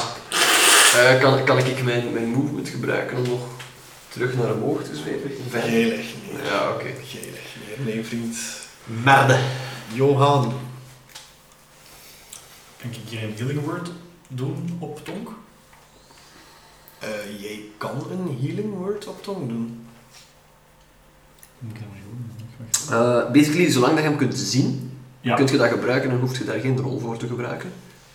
D: Eh, kan, kan ik mijn, mijn movement gebruiken om nog terug naar omhoog te zweven? Verder?
A: Jij legt neer.
D: Ja, oké.
A: Jij legt neer. Nee, vriend.
D: Merde.
A: Johan.
B: Kan ik hier een healing word doen op Tonk?
A: Eh, jij kan een healing word op tong doen.
B: Moet ik dat maar doen?
D: Eh, basically, zolang dat je hem kunt zien,
B: Ja.
D: kun je dat gebruiken en hoef je daar geen rol voor te gebruiken.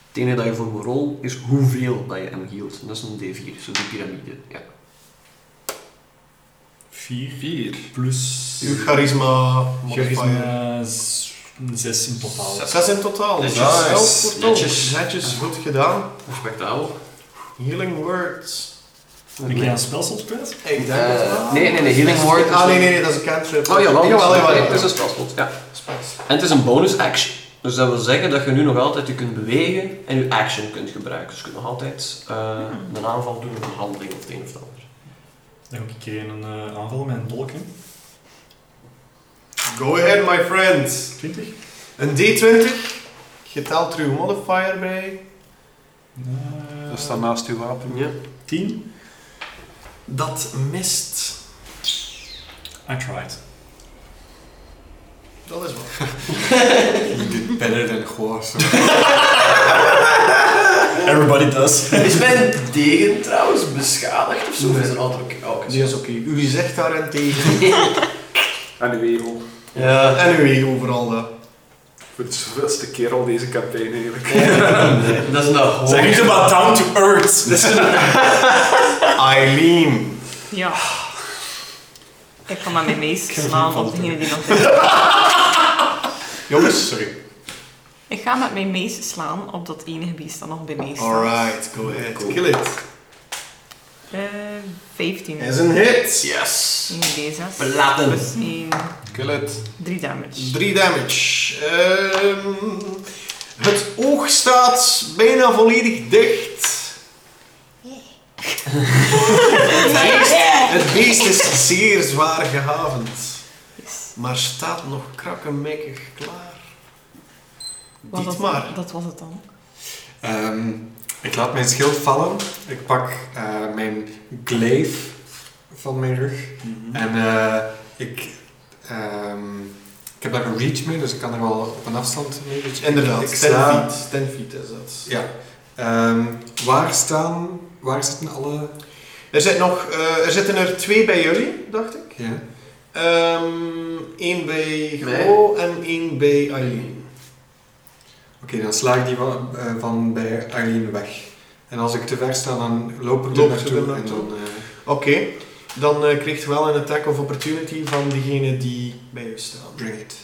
D: Het enige dat je voor moet rol is hoeveel dat je hem hield. En dat is een D4, zo die piramide. Ja.
B: 4
C: Vier.
B: plus...
A: Uw charisma modifier.
B: Charisma 6 eh, in totaal.
A: Zes in totaal.
D: Netjes.
A: Ja,
C: Nice.
A: voor tong.
D: Netjes.
A: Netjes, goed gedaan.
D: Respectabel.
A: Healing words.
B: Ik krijg een spelslotprijs.
A: Ik denk
D: Eh,
A: het wel.
D: nee, nee, nee, healing word is-
A: Ah, nee, nee, nee, dat is een cantrip.
D: Oh jawel,
A: jawel, jawel.
D: het is een spelslot. Ja.
A: Spels.
D: En het is een bonus action. Dus dat wil zeggen dat je nu nog altijd je kunt bewegen en je action kunt gebruiken. Dus je kunt nog altijd eh,
B: Hmm.
D: een aanval doen of een handeling of het een of het ander.
B: Dan heb ik hier een eh, aanval met een dolk in.
A: Go ahead, my friends.
B: 20?
A: Een D20. Geteld er uw modifier bij.
B: Eh,
C: Dat staat naast uw wapen.
D: Ja.
B: 10?
A: Dat mist.
B: I tried.
A: Dat is wat.
E: You did better than Goa. so.
B: Everybody does.
D: Is mijn degen trouwens beschadigd of zo?
A: Nee.
D: Is dat altijd oké? Oh, oké.
A: Die is oké. Uw gezicht daarentegen.
C: En uw ego.
D: Ja.
A: en uw ego overal dat.
C: Voor de zoveelste keer al deze campagne eigenlijk.
D: Nee, dat is nou hoor.
B: Zeg niet about down to earth.
A: Eileen.
F: Ja. Ik kan maar mijn meest slaan op degene die nog is.
A: Jongens, sorry.
F: Ik ga met mijn meest slaan op dat enige beest dat nog bij mij staat.
A: Alright, go ahead. Kill it.
F: Eh, 15.
A: Is een hit.
D: Yes.
F: 1 D6.
D: Platen.
F: Plus 1.
C: Kill it.
F: 3 damage.
A: 3 damage. Ehm, het oog staat bijna volledig dicht. Het beest, het beest is zeer zwaar gehavend,
F: Yes.
A: maar staat nog krakkemikkig klaar.
F: Wat
A: Dit
F: was-
A: maar.
F: Dat was het dan.
E: Ehm, ik laat mijn schild vallen. Ik pak eh, mijn glaive van mijn rug. En eh, ik, ehm, ik heb daar een reach mee, dus ik kan er wel op een afstand mee. Dus ik-
A: Inderdaad,
E: ik
A: 10
E: sta-
A: feet. 10 feet is dat.
E: Ja. Ehm, waar staan, waar zitten alle...
A: Er, zit nog, eh, er zitten er twee bij jullie, dacht ik.
E: Ja.
A: Ehm Eén bij
D: Mij?
A: Gro en één bij Aileen.
E: Oké, dan sla ik die van, eh, van bij Arlene weg. En als ik te ver sta, dan loop ik
A: Loop
E: er
A: je
E: naartoe.
A: er
E: En
A: naartoe?
E: dan, eh,
A: Oké, dan eh, kreeg je wel een attack of opportunity van degene die bij u staan.
E: bring it.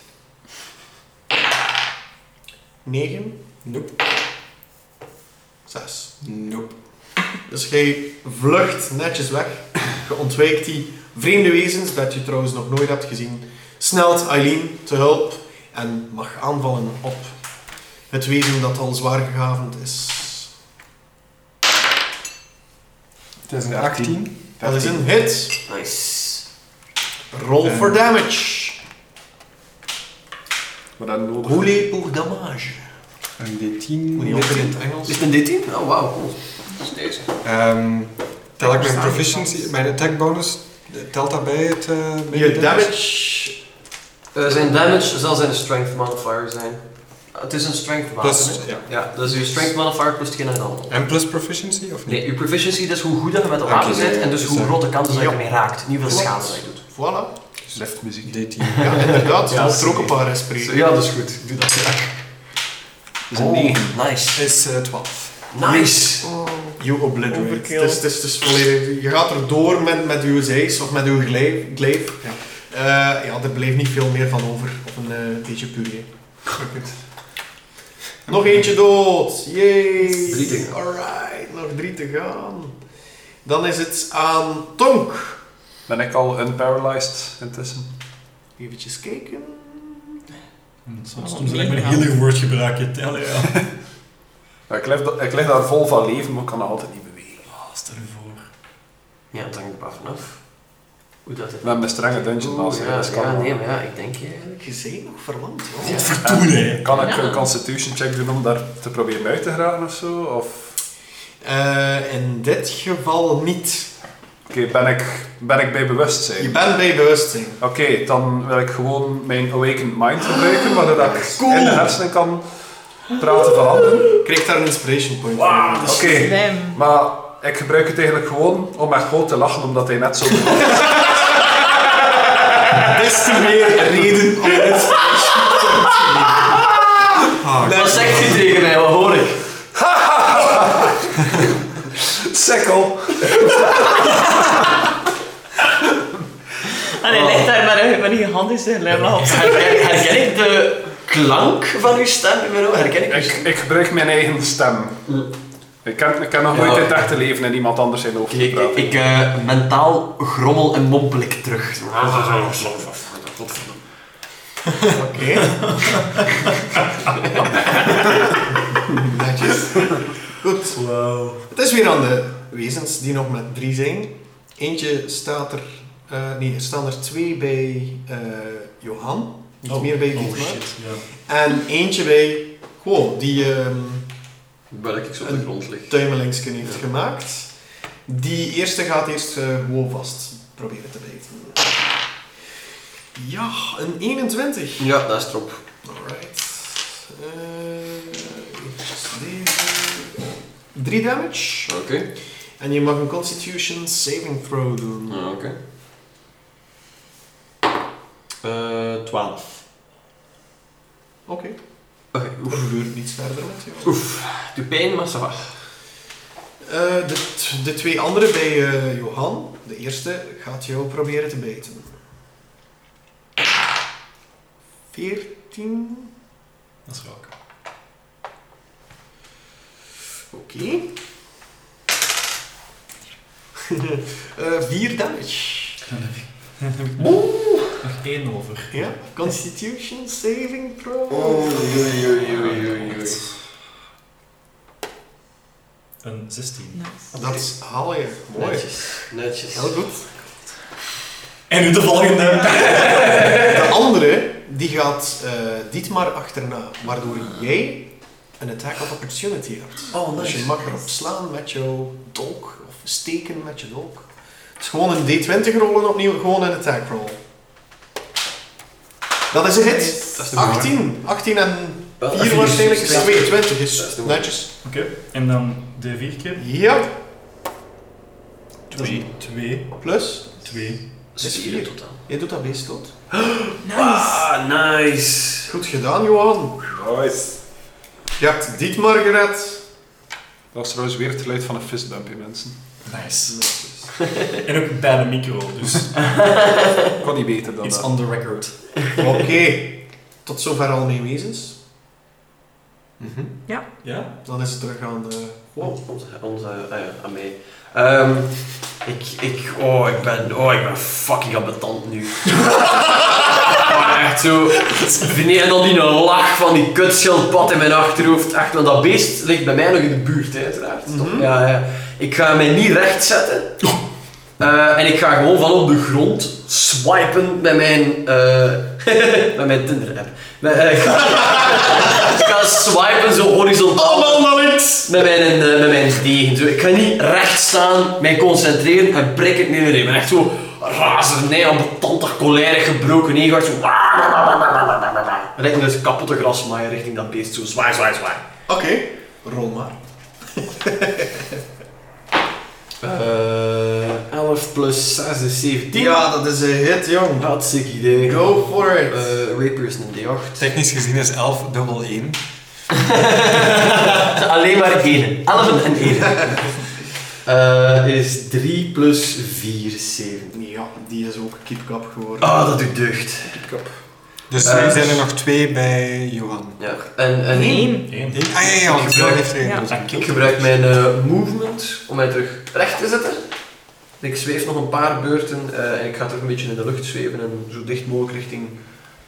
A: 9,
E: Nope.
A: 6.
E: Nope.
A: Dus jij vlucht netjes weg. Je ontwijkt die vreemde wezens dat je trouwens nog nooit hebt gezien. Snelt Eileen te hulp en mag aanvallen op het wezen dat al zwaar gehavend is.
E: Het is een
A: 18.
E: 18.
A: Dat is een hit.
D: Nice.
A: Roll
E: Eh.
A: for damage.
C: Maar dan nodig...
A: Roulez pour damage.
E: Een D10.
A: Moet niet altijd in het Engels.
D: Is het een D10? Oh, wauw, cool. Dat is deze.
E: Ehm, tel ik mijn
F: Verstaan
E: proficiency,
F: niet.
E: mijn attack bonus, telt dat bij het... eh, bij
A: Je
E: de
A: damage.
D: Eh, zijn damage zal zijn strength modifier zijn. Ah, het is een strength modifier.
E: Plus, ja.
D: Ja, dat is uw strength modifier plus hetgeen dat je dan doet.
E: En plus proficiency, of niet?
D: Nee, uw proficiency dat is hoe goed dat je met de
E: Oké,
D: wapen bent
E: ja,
D: en dus
E: dus
D: hoe
E: dan-
D: grote kansen dat je
A: Ja.
D: ermee raakt. Niet hoeveel
A: Klopt.
D: schade dat je doet.
A: Voilà.
E: Dus
C: Liftmuziek.
E: D10.
A: Ja, inderdaad.
D: Ja,
A: Mocht er ook
D: zeker.
A: een paar spreken.
D: Ja, dat is goed. Ik doe dat graag.
C: Dat is een 9.
D: Oh, Nice.
E: Is eh, 12.
D: Nice.
A: You obliterate. Het
F: Overkill.
A: is, het is, het is volledig. Je gaat er door met, met uw zeis of met uw glijf. glijf.
E: Ja.
A: Eh, ja, er bleef niet veel meer van over. Of een eh, beetje puree. Nog eentje dood. Yay.
D: Drie te gaan.
A: Alright, nog drie te gaan. Dan is het aan Tonk.
C: Ben ik al unparalyzed intussen?
A: Even kijken.
B: Soms soms lijkt me een healing word gebruiken. Tellen, ja.
C: Ja, ik, lig, da- ik lig daar vol van leven, maar ik kan dat altijd niet bewegen.
B: Ah, stel je voor.
D: Ja, het hangt er maar vanaf. Hoe dat het...
C: Met mijn strenge dungeon
D: Oeh,
C: master.
D: ja,
C: dus kan
D: ja,
C: wel.
D: nee, maar ja, ik denk eigenlijk...
A: Gezien nog verlamd. hoor.
D: Ja.
B: Verdoen, hè.
C: Kan ik
D: Ja.
C: een constitution check doen om daar te proberen uit te geraken of zo? Of...
A: Eh, in dit geval niet.
C: Oké, ben, ik, ben ik bij bewustzijn?
A: Je bent bij bewustzijn.
C: Oké, dan wil ik gewoon mijn awakened mind gebruiken, waardoor dat ik
A: Cool.
C: in de hersenen kan praten van anderen.
A: Je krijgt daar een inspiration point
C: Wauw,
A: voor.
C: Oké,
F: Slim.
C: maar ik gebruik het eigenlijk gewoon om echt groot te lachen, omdat hij net zo...
A: Des te meer reden om dit.
D: Wat zegt je tegen mij? Wat hoor ik?
C: Sikkel!
F: En hij ligt Ah, daar met, een- met die hand in zijn lemma op.
D: Herken, herken ik de klank van uw stem? Miro? Herken ik uw
C: Ik,
D: stem?
C: ik gebruik mijn eigen stem. Ik ken, ik ken nog
D: Mm. Ja.
C: nooit in het echte leven en iemand anders zijn hoofd
D: Oké, ik,
C: gepraat.
D: ik, ik, eh, mentaal grommel en mompel ik terug. Oh,
A: Oké. Netjes. Goed. Het is weer aan de wezens die nog met drie zijn. Eentje staat er... eh, nee, er staan er twee bij eh, Johan. Niet meer bij
B: Oh
A: Dietmar.
B: shit, ja.
A: en eentje bij... Gewoon, die... ehm,
D: Waar ik zo
A: op de
D: grond lig.
A: tuimelingsken heeft gemaakt. Die eerste gaat eerst eh, gewoon vast proberen te bijten. Ja, een 21.
D: Ja, dat is het erop.
A: Alright. Eh, eventjes deze. 3 damage.
D: Oké.
A: En je mag een Constitution saving throw doen.
D: Ja, oké. Eh, 12.
A: Oké.
D: Oké,
A: Er gebeurt niets verder met jou.
D: Doe pijn, maar ça va.
A: Eh, de, t- de twee andere bij eh, Johan. De eerste gaat jou proberen te bijten. 14.
B: Dat is raak.
A: Oké. Eh, vier damage.
B: Nog één over.
A: Ja. Constitution saving throw.
E: Oh.
D: oei, oei, oei,
B: Een 16.
F: Nice.
A: Dat haal je. Mooi.
D: Netjes, netjes.
A: Heel goed.
B: En nu de volgende.
A: De andere, die gaat eh Dietmar achterna, waardoor jij een attack of opportunity hebt.
D: Oh,
A: Dus je mag erop slaan met jouw dolk, of steken met je dolk. Het is gewoon een D20 rollen opnieuw, gewoon een attack roll. Dat is een hit.
D: Dat is de
A: 18. 18 en
D: Dat is
A: 4
D: de
A: waarschijnlijk is
D: moeite.
A: 22. Is
D: Dat is de moeite.
A: dus netjes.
B: Oké, en dan de vier keer.
A: Ja.
B: Dat is een twee.
A: Plus,
B: Twee.
A: Dat is
D: Vier in
A: vier.
D: totaal.
A: jij doet dat beest dood.
F: Nice.
D: nice.
A: Goed gedaan, Johan.
C: Nice.
A: Je hebt Dietmar gered.
C: Dat was trouwens weer het geluid van een fistbumpje, mensen.
B: Nice. En ook bij de micro, dus
C: Ik kon niet beter dan
B: iets
C: dat.
B: on the record.
A: Oké. Tot zover al mijn wezens.
E: Mhm.
B: Ja?
A: Dan is het terug aan de...
D: Wow, onze, onze ah ja, aan mij. Ehm, ik, ik, oh, ik ben, oh, ik ben fucking ambetant nu. Maar echt zo. Nee, en dan die lach van die kutschildpad in mijn achterhoofd. Echt, want dat beest ligt bij mij nog in de buurt, hè, uiteraard. Toch? ja, ja. Ik ga mij niet recht zetten. Eh, en ik ga gewoon van op de grond swipen met mijn, eh met mijn Tinder-app. Met, eh, ik, ga, ik ga swipen zo horizontaal. Met mijn, eh, met mijn degen. Zo, ik ga niet recht staan, mij concentreren en prik het neer. Ik ben echt zo razernij, ambetantig, cholerig, gebroken ego. echt Zo. Rijden dus kapotte grasmaaien richting dat beest. Zo zwaai, zwaai, zwaai.
A: Oké, rol maar. Eh,
D: 11 plus 6 is 17.
A: ja, dat is een hit, jong.
D: Hartstikke idee.
A: Go for it.
D: Eh, Rapier is een D8.
E: Technisch gezien is 11 dubbel 1.
D: Alleen maar 1. 11 en 1. Eh, is 3 plus 4 is 7.
A: ja, die is ook keepkap geworden.
D: Ah, dat doet deugd.
E: Dus
D: Eh,
E: nu zijn er nog twee bij Johan.
D: Ja. En, en
F: Nee.
B: Eén.
E: Ah ja, ja, want Johan heeft er één.
F: Ja.
E: dus
B: Dank
D: Ik
B: je.
D: gebruik mijn eh, movement om mij terug recht te zetten. Ik zweef nog een paar beurten eh, en ik ga terug een beetje in de lucht zweven en zo dicht mogelijk richting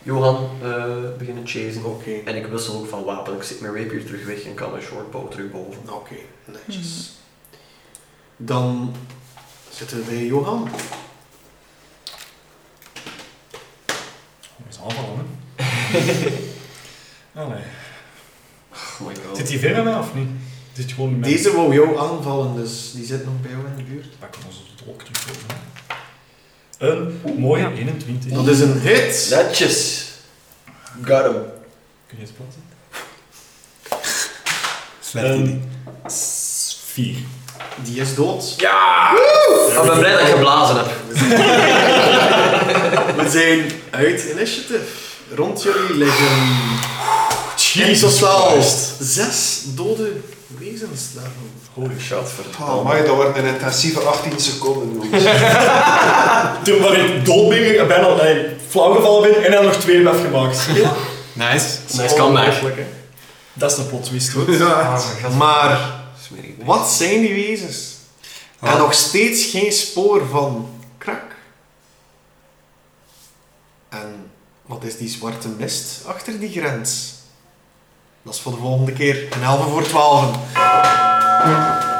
D: Johan eh, beginnen chasen.
A: Oké,
D: En ik wissel ook van wapen. Ik zet mijn rapier terug weg en kan mijn shortbow terug boven.
A: oké, netjes.
B: Hmm.
A: Dan zitten we bij Johan.
B: Dat is aanvallen, hè? Allee.
D: Oh my god.
B: Zit die ver bij mij of niet? Zit gewoon in mijn...
A: Deze wou jou aanvallen, dus die zit nog bij jou in de buurt.
B: Pak ons het ook terug. hè. Een mooie 21.
A: Dat is een hit.
D: Netjes. Got him.
B: Kun je het plaatsen?
E: Slecht idee.
B: Ehm, s- Vier.
A: Die is dood.
D: Ja! Ik ben blij dat ik geblazen heb.
A: We zijn uit initiative. Rond jullie liggen in totaal zes dode wezens daarvan.
B: Holy shit.
C: Oh, maar dat wordt een intensieve 18 seconden. jongens.
B: Toen waar ik dood ben, gegaan, bijna eh, flauw gevallen ben en dan nog twee heb gemaakt.
E: Nice.
D: Nice comeback.
B: Dat is een plot twist.
C: Ja.
A: Maar wat zijn die wezens? En
E: Ah.
A: nog steeds geen spoor van krak. En wat is die zwarte mist achter die grens? Dat is voor de volgende keer. Een halve voor twaalf.